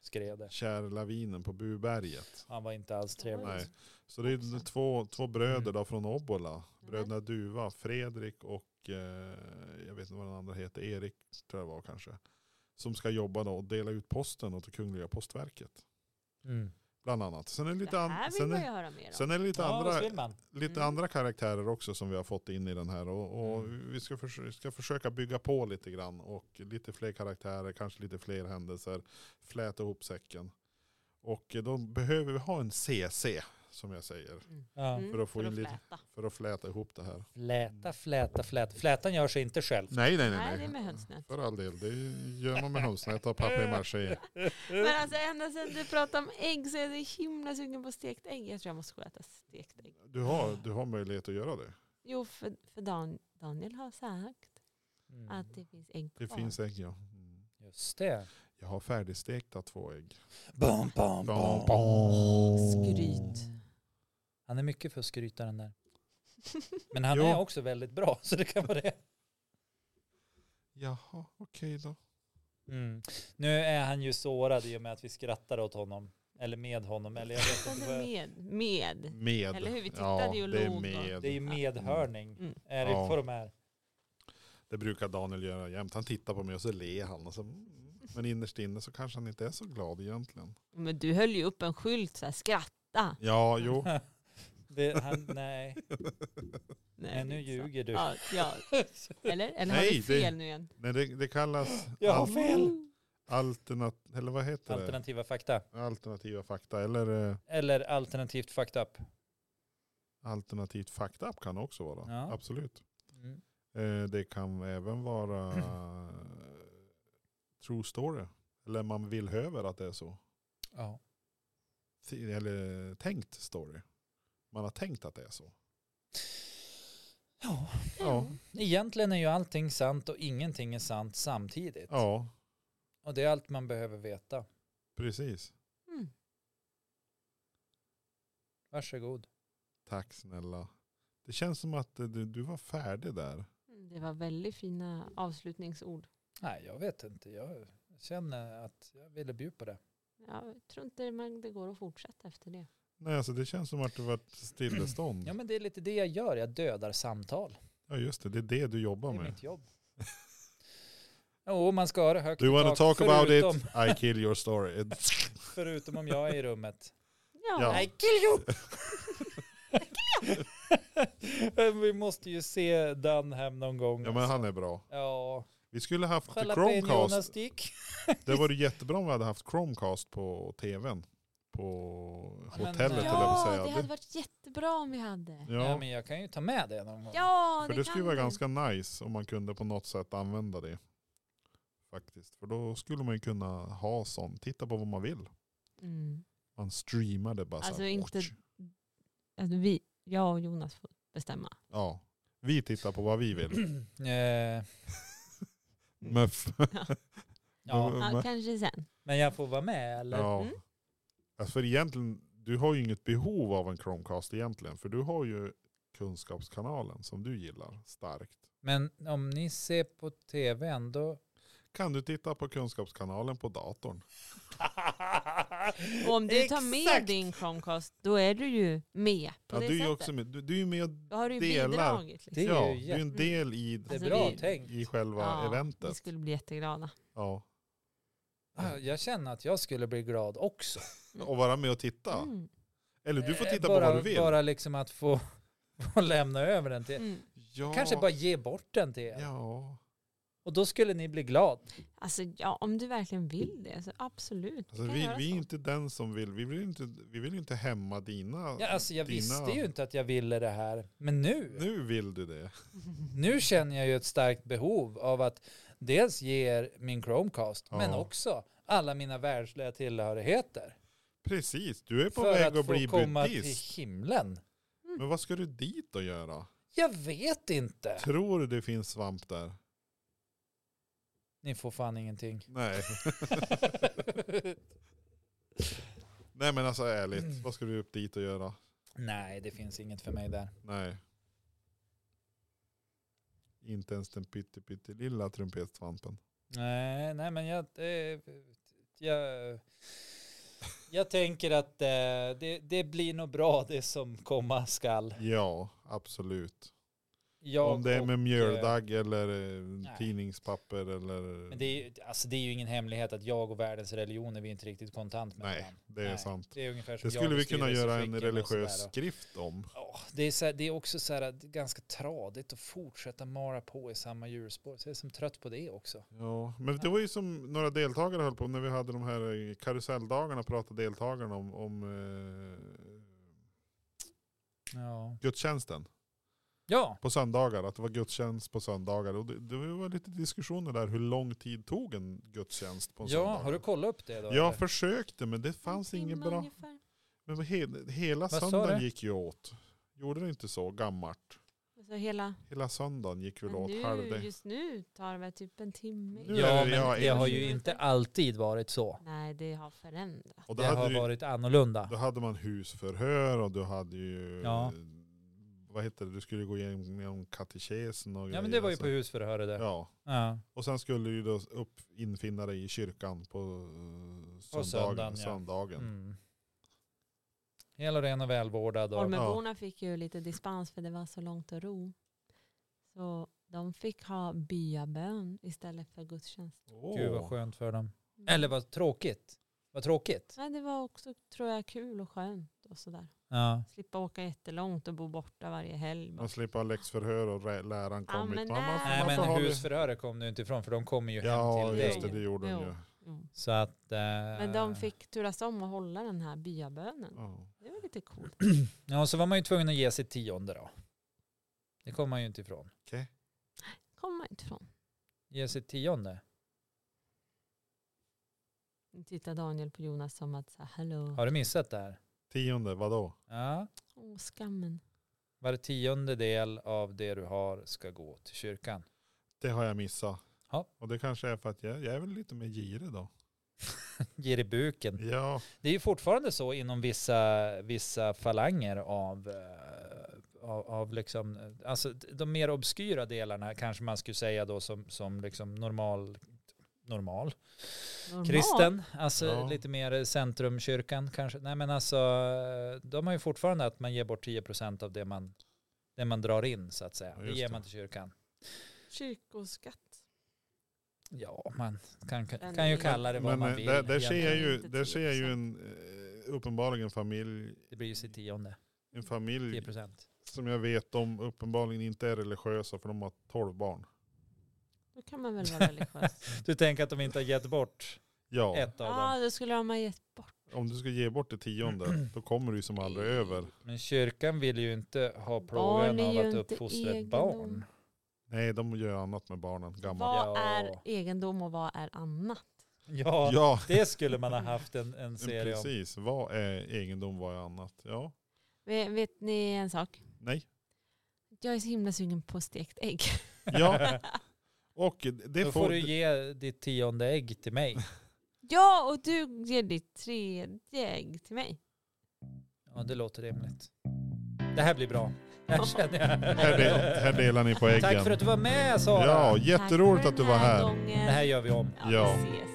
Speaker 1: Skrev det.
Speaker 2: kärlavinen på Buberget.
Speaker 1: Han var inte alls trevlig.
Speaker 2: Nej. Så det är
Speaker 3: Hoppsan.
Speaker 2: två, två bröder
Speaker 1: Mm.
Speaker 2: då från Obbola. Bröderna
Speaker 3: Mm.
Speaker 2: Duva, Fredrik och eh, jag vet inte vad den andra heter, Erik tror jag det var kanske. Som ska jobba då och dela ut posten åt det kungliga postverket.
Speaker 1: Mm.
Speaker 2: Bland annat. Sen är det
Speaker 3: Det
Speaker 2: lite,
Speaker 3: här
Speaker 2: an-
Speaker 3: vill
Speaker 2: sen
Speaker 3: man
Speaker 2: är,
Speaker 3: ju höra mer om.
Speaker 2: sen är det lite,
Speaker 1: Ja,
Speaker 2: andra,
Speaker 1: visst vill man.
Speaker 2: lite
Speaker 3: Mm.
Speaker 2: andra karaktärer också som vi har fått in i den här. Och, och
Speaker 1: Mm.
Speaker 2: vi ska, förs- ska försöka bygga på lite grann. Och lite fler karaktärer, kanske lite fler händelser. Fläta ihop säcken. Och eh, då behöver vi ha en CC som jag säger.
Speaker 1: Ja.
Speaker 3: Mm,
Speaker 2: för att få in lite-
Speaker 3: fläta.
Speaker 2: För att fläta ihop det här.
Speaker 1: Fläta, fläta, fläta. Flätan gör sig inte själv.
Speaker 2: Nej, nej,
Speaker 3: Nej,
Speaker 2: nej.
Speaker 3: det är
Speaker 2: nej.
Speaker 3: med hönsnät.
Speaker 2: För all del, det gör man med hönsnät och papier-maché.
Speaker 3: Men alltså ända sedan du pratade om ägg så är jag så himla sugen på stekt ägg. Jag tror jag måste gå och äta stekt ägg.
Speaker 2: Du har, du har möjlighet att göra det.
Speaker 3: Jo, för, för Dan, Daniel har sagt
Speaker 1: Mm.
Speaker 3: att det finns ägg
Speaker 2: Det
Speaker 3: kvar.
Speaker 2: finns ägg, ja. Mm.
Speaker 1: Just det.
Speaker 2: Jag har färdigstekta två ägg.
Speaker 1: Bam, bam,
Speaker 2: Bam,
Speaker 1: bam.
Speaker 3: Skryt.
Speaker 1: Han är mycket för skrytaren där. Men han
Speaker 2: Jo.
Speaker 1: är också väldigt bra, (laughs) så det kan vara det.
Speaker 2: Jaha, okej då.
Speaker 1: Mm. Nu är han ju sårad i och med att vi skrattar åt honom. Eller med honom. Eller jag vet
Speaker 3: Han (laughs)
Speaker 1: inte
Speaker 3: är
Speaker 1: vad.
Speaker 3: med. Med.
Speaker 2: Med.
Speaker 3: Eller hur, vi
Speaker 2: ja,
Speaker 3: tittade ju och
Speaker 2: det är
Speaker 3: log då.
Speaker 2: med.
Speaker 1: Det är ju
Speaker 2: Det,
Speaker 1: medhörning.
Speaker 3: Mm.
Speaker 1: Är det
Speaker 2: Ja.
Speaker 1: på de
Speaker 3: (laughs)
Speaker 1: här?
Speaker 2: brukar Daniel göra jämt. Han tittar på mig och så ler han. Och så, mm. men innerst inne så kanske han inte är så glad egentligen.
Speaker 3: Men du höll ju upp en skylt så här, skratta.
Speaker 2: Ja, jo.
Speaker 1: Det, han, nej,
Speaker 3: Nej,
Speaker 1: men nu
Speaker 3: det är sant.
Speaker 1: ljuger du.
Speaker 3: Ja, ja. Eller? Eller har
Speaker 2: Nej,
Speaker 3: vi
Speaker 2: det-
Speaker 3: fel nu igen?
Speaker 2: Nej, det, det kallas
Speaker 1: Jag har
Speaker 2: al-
Speaker 1: fel.
Speaker 2: alternat- eller vad
Speaker 1: (laughs)
Speaker 2: heter
Speaker 1: Alternativa fakta.
Speaker 2: det? Alternativa fakta eller eh,
Speaker 1: Eller alternativt fucked up.
Speaker 2: alternativt fakta kan det också vara.
Speaker 1: Ja.
Speaker 2: Absolut.
Speaker 1: Mm.
Speaker 2: Eh, det kan även vara eh, true story. Eller man vill höver att det är så.
Speaker 1: Ja.
Speaker 2: Ti- Eller tänkt story. Man har tänkt att det är så.
Speaker 1: ja.
Speaker 2: Ja,
Speaker 1: Egentligen är ju allting sant och ingenting är sant samtidigt.
Speaker 2: ja
Speaker 1: Och det är allt man behöver veta.
Speaker 2: precis.
Speaker 3: Mm.
Speaker 1: Varsågod.
Speaker 2: Tack snälla. Det känns som att eh, du, du var färdig där.
Speaker 3: Mm, Det var väldigt fina avslutningsord.
Speaker 1: Nej, jag vet inte. Jag känner att jag ville bjuda på det.
Speaker 3: Jag tror inte man, det går att fortsätta efter det.
Speaker 2: Nej, alltså det känns som att det
Speaker 1: (clears throat)
Speaker 2: var ett stillestånd.
Speaker 1: Ja, men det är lite det jag gör. Jag dödar samtal.
Speaker 2: Ja, just det. Det är det du jobbar
Speaker 1: Det är
Speaker 2: med.
Speaker 1: mitt jobb. (laughs) Jo, man ska ha det högt
Speaker 2: Do you
Speaker 1: i
Speaker 2: want to
Speaker 1: tak,
Speaker 2: talk about it?
Speaker 1: förutom,
Speaker 2: I kill your story.
Speaker 1: (laughs)
Speaker 2: It-
Speaker 1: Förutom om jag är i rummet.
Speaker 2: (laughs) Ja.
Speaker 1: I kill you! Men (laughs) Vi måste ju se Dan hem någon gång.
Speaker 2: Ja, men han är bra.
Speaker 1: ja.
Speaker 2: Vi skulle haft
Speaker 1: Jalapeño
Speaker 2: Chromecast.
Speaker 1: stick.
Speaker 2: Det vore jättebra om vi hade haft Chromecast på tvn. På
Speaker 1: Ja, men-
Speaker 2: hotellet,
Speaker 1: Ja,
Speaker 2: eller vad säga.
Speaker 3: det
Speaker 2: Det-
Speaker 3: hade varit jättebra om vi hade.
Speaker 2: Ja,
Speaker 1: Ja, men jag kan ju ta med det någon gång.
Speaker 3: Ja,
Speaker 2: för det skulle
Speaker 3: kan
Speaker 2: vara
Speaker 3: du.
Speaker 2: ganska nice om man kunde på något sätt använda det. Faktiskt. För då skulle man ju kunna ha sånt. Titta på vad man vill.
Speaker 3: Mm.
Speaker 2: Man streamar det bara så
Speaker 3: Alltså
Speaker 2: här.
Speaker 3: inte- Alltså, vi, jag och Jonas får bestämma.
Speaker 2: Ja. Vi tittar på vad vi vill.
Speaker 1: Eh,
Speaker 2: Muff.
Speaker 1: ja,
Speaker 3: Ja, kanske sen.
Speaker 1: men jag får vara med eller?
Speaker 2: Mm. Ja.
Speaker 3: Mm.
Speaker 2: Alltså för egentligen, du har ju inget behov av en Chromecast egentligen. För du har ju kunskapskanalen som du gillar starkt.
Speaker 1: Men om ni ser på tv (laughs) ändå.
Speaker 2: Kan du titta på kunskapskanalen på datorn?
Speaker 3: Och om du tar med
Speaker 1: Exakt!
Speaker 3: din Chromecast, då är du ju med på
Speaker 2: Ja,
Speaker 3: det
Speaker 2: du, är ju
Speaker 3: sättet.
Speaker 2: också med, du, du är ju med,
Speaker 3: Då har du ju
Speaker 2: delar.
Speaker 3: bidragit. Liksom.
Speaker 1: Det är
Speaker 2: ja,
Speaker 1: ju
Speaker 2: du är en
Speaker 1: jätte-
Speaker 2: del i,
Speaker 1: Det är
Speaker 3: Alltså,
Speaker 1: bra
Speaker 3: vi-
Speaker 1: tänkt.
Speaker 2: i själva
Speaker 3: Ja, Vi
Speaker 2: eventet.
Speaker 3: skulle bli jätteglada.
Speaker 2: Ja.
Speaker 1: Ah, Jag känner att jag skulle bli glad också.
Speaker 2: Och vara med och titta.
Speaker 3: Mm.
Speaker 2: Eller du får
Speaker 1: Eh,
Speaker 2: titta
Speaker 1: bara,
Speaker 2: på vad du vill.
Speaker 1: Bara liksom att få, (laughs) få lämna över den till.
Speaker 3: Mm.
Speaker 2: Ja,
Speaker 1: Kanske bara ge bort den till er.
Speaker 2: Ja.
Speaker 1: Och då skulle ni bli glad.
Speaker 3: Alltså ja, om du verkligen vill det så absolut.
Speaker 2: Alltså,
Speaker 3: kan
Speaker 2: vi,
Speaker 3: göra
Speaker 2: vi är
Speaker 3: så.
Speaker 2: inte den som vill. Vi vill ju inte, vi vill ju inte hämma dina...
Speaker 1: Ja, alltså jag
Speaker 2: dina-
Speaker 1: visste ju inte att jag ville det här. Men nu, nu,
Speaker 2: Nu vill du det.
Speaker 1: känner jag ju ett starkt behov av att dels ge er min Chromecast, men
Speaker 2: Ja.
Speaker 1: också alla mina världsliga tillhörigheter.
Speaker 2: Precis, du är på
Speaker 1: för
Speaker 2: väg
Speaker 1: att
Speaker 2: att
Speaker 1: få
Speaker 2: bli
Speaker 1: komma
Speaker 2: buddhist.
Speaker 1: till himlen.
Speaker 2: Men vad ska du dit och göra?
Speaker 1: Jag vet inte.
Speaker 2: Tror du det finns svamp där?
Speaker 1: Ni får fan
Speaker 2: (laughs)
Speaker 1: ingenting. (laughs)
Speaker 2: Nej. Nej men alltså
Speaker 1: Mm.
Speaker 2: ärligt, vad ska du upp dit och göra?
Speaker 1: Nej, det finns inget för mig där.
Speaker 2: Nej. Inte ens den pytte pytte lilla trumpetsvampen.
Speaker 1: Nej, nej men jag, eh, jag, jag tänker att eh, det, det blir nog bra det som komma skall.
Speaker 2: Ja, absolut.
Speaker 1: Jag
Speaker 2: Om det är
Speaker 1: och,
Speaker 2: med
Speaker 1: eh,
Speaker 2: mjöldagg eller eh, tidningspapper
Speaker 1: Men
Speaker 2: eller...
Speaker 1: det är, ju- alltså det är ju ingen hemlighet att jag och världens religioner, vi är inte riktigt kontant med
Speaker 2: Nej,
Speaker 1: varandra.
Speaker 2: det är
Speaker 1: Nej.
Speaker 2: sant.
Speaker 1: Det är ungefär som
Speaker 2: Det skulle
Speaker 1: jag
Speaker 2: vi
Speaker 1: och
Speaker 2: kunna göra en
Speaker 1: styrelseskicken och sådär.
Speaker 2: religiös skrift om.
Speaker 1: Ja, det, är så här, det är också så här att det är ganska tradigt att fortsätta mara på i samma hjulspår. Så jag är som trött på det också.
Speaker 2: Ja, men det var ju som några deltagare höll på när vi hade de här eh, karuselldagarna pratade deltagarna om, om eh,
Speaker 1: Ja,
Speaker 2: gudstjänsten
Speaker 1: ja
Speaker 2: på söndagar, att det var gudstjänst på söndagar. Och det, det var lite diskussioner där hur lång tid tog en gudstjänst på en
Speaker 1: ja
Speaker 2: söndag.
Speaker 1: har du kollat upp det då?
Speaker 2: Jag
Speaker 1: eller?
Speaker 2: försökte men det fanns
Speaker 3: En
Speaker 2: inget
Speaker 3: timme
Speaker 2: bra.
Speaker 3: ungefär.
Speaker 2: Men he, hela
Speaker 1: sa
Speaker 2: söndagen
Speaker 1: du?
Speaker 2: gick ju åt. Gjorde det inte så gammalt?
Speaker 3: Alltså hela.
Speaker 2: Hela söndagen gick väl
Speaker 3: Men
Speaker 2: åt halv
Speaker 3: nu,
Speaker 2: det.
Speaker 3: just nu tar det väl typ en timme.
Speaker 2: Nu är
Speaker 1: ja,
Speaker 2: det-
Speaker 1: men
Speaker 2: ja,
Speaker 1: det har
Speaker 2: en-
Speaker 1: ju inte alltid varit så.
Speaker 3: Nej, det har förändrats.
Speaker 2: Och då
Speaker 1: Det har
Speaker 2: hade, du,
Speaker 1: varit annorlunda.
Speaker 2: då hade man husförhör och du hade ju
Speaker 1: Ja.
Speaker 2: vad heter det, du skulle gå igenom katekesen och
Speaker 1: Ja,
Speaker 2: grejer,
Speaker 1: men det var ju
Speaker 2: alltså.
Speaker 1: på husförhöret där. Ja.
Speaker 2: Ja, och sen skulle du då upp, infinna dig i kyrkan på eh, söndagen.
Speaker 1: söndagen, ja.
Speaker 2: söndagen.
Speaker 1: Mm. Hel och ren och välvårdad. Och,
Speaker 3: Holmöborna fick ju lite dispens för det var så långt att ro. Så de fick ha byabön istället för gudstjänst.
Speaker 2: Åh.
Speaker 1: Gud vad skönt för dem.
Speaker 3: Mm.
Speaker 1: Eller vad tråkigt. Vad tråkigt.
Speaker 3: Nej, det var också tror jag kul och skönt. ut och sådär.
Speaker 1: Ja.
Speaker 3: Slippa åka jättelångt och bo borta varje helg. bara.
Speaker 2: Man slipper ha läxförhör och rä- läraren
Speaker 3: Ja,
Speaker 2: kommer
Speaker 3: men
Speaker 2: hit. Man, man,
Speaker 3: nej.
Speaker 1: Nej
Speaker 2: varför har
Speaker 1: men
Speaker 2: vi-
Speaker 1: husförhöret kom du inte ifrån för de kommer ju hem
Speaker 2: Ja,
Speaker 1: till
Speaker 2: just
Speaker 1: dig.
Speaker 2: det, det gjorde hon
Speaker 3: Jo.
Speaker 2: ju.
Speaker 3: Mm.
Speaker 1: Så att... Eh,
Speaker 3: Men de fick turas om att hålla den här byabönen.
Speaker 2: Ja.
Speaker 3: Det var lite coolt.
Speaker 1: Ja, och så var man ju tvungen att ge sitt tionde då. Det kommer man ju inte ifrån.
Speaker 2: Okej.
Speaker 3: kommer man inte ifrån.
Speaker 1: Ge sitt tionde.
Speaker 3: Nu tittar Daniel på Jonas som att så här, hallå.
Speaker 1: Har du missat det här?
Speaker 2: Tionde, vadå?
Speaker 1: Ja.
Speaker 3: Åh, skammen.
Speaker 1: Var tionde del av det du har ska gå till kyrkan.
Speaker 2: Det har jag missat.
Speaker 1: Ja.
Speaker 2: Och det kanske är för att jag, jag är väl lite mer girig då.
Speaker 1: Ge dig buken.
Speaker 2: Ja,
Speaker 1: Det är ju fortfarande så inom vissa, vissa falanger av, eh, av, av liksom, eh, alltså de mer obskyra delarna kanske man skulle säga då som, som liksom normal, normal,
Speaker 3: Normal.
Speaker 1: kristen, alltså
Speaker 2: Ja.
Speaker 1: lite mer centrumkyrkan kanske. Nej men alltså, eh, de har ju fortfarande att man ger bort 10% av det man, det man drar in så att säga.
Speaker 2: Ja,
Speaker 1: det
Speaker 2: just
Speaker 1: ger
Speaker 2: det.
Speaker 1: man till kyrkan.
Speaker 3: Kyrkoskatt.
Speaker 1: Ja, man kan,
Speaker 3: Den
Speaker 1: kan ju
Speaker 3: är-
Speaker 1: kalla det vad
Speaker 2: men
Speaker 1: man
Speaker 2: eh,
Speaker 1: vill.
Speaker 2: där, där ser jag
Speaker 1: egentligen.
Speaker 2: ju,
Speaker 3: Inte
Speaker 2: där ser jag ju
Speaker 3: 10%.
Speaker 2: en, eh, uppenbarligen familj,
Speaker 1: Det blir ju sitt tionde,
Speaker 2: en familj
Speaker 1: 10%.
Speaker 2: som jag vet de uppenbarligen inte är religiösa för de har tolv barn.
Speaker 3: Då kan man väl vara
Speaker 1: (laughs)
Speaker 3: religiös.
Speaker 1: Du tänker att de inte har gett bort
Speaker 2: Ja,
Speaker 1: ett av dem?
Speaker 3: Ja, då skulle de ha gett bort.
Speaker 2: om du ska ge bort det tionde då kommer du ju som aldrig över.
Speaker 1: Men kyrkan vill ju inte ha
Speaker 3: Barn
Speaker 1: plågan
Speaker 3: är
Speaker 1: av
Speaker 3: ju
Speaker 1: att
Speaker 3: inte
Speaker 1: uppfostra ett
Speaker 3: egendom.
Speaker 1: barn.
Speaker 2: Nej, de gör annat med barnen. Gammal.
Speaker 3: Vad
Speaker 1: Ja.
Speaker 3: är egendom och vad är annat?
Speaker 1: Ja,
Speaker 2: Ja,
Speaker 1: det skulle man ha haft en, en
Speaker 2: men
Speaker 1: serie om.
Speaker 2: precis. Vad är egendom, vad är annat? Ja,
Speaker 3: Ve- Vet ni en sak?
Speaker 1: (laughs)
Speaker 2: nej.
Speaker 3: Jag är så himla sugen på stekt ägg. (laughs)
Speaker 2: Ja, och det
Speaker 1: Då får
Speaker 2: får...
Speaker 1: du ge ditt tionde ägg till mig.
Speaker 3: Ja, och du ger ditt tredje ägg till mig.
Speaker 1: Ja, det låter rimligt. Det här blir bra. Det här känner jag.
Speaker 2: här, del, här delar ni på äggen.
Speaker 1: Tack för att du var med Sara.
Speaker 2: Ja, jätteroligt
Speaker 3: Tack
Speaker 2: att
Speaker 3: för
Speaker 2: du var
Speaker 3: den
Speaker 2: här.
Speaker 3: Gången.
Speaker 1: Det här gör vi om.
Speaker 3: ja,
Speaker 2: Ja.
Speaker 3: Vi ses.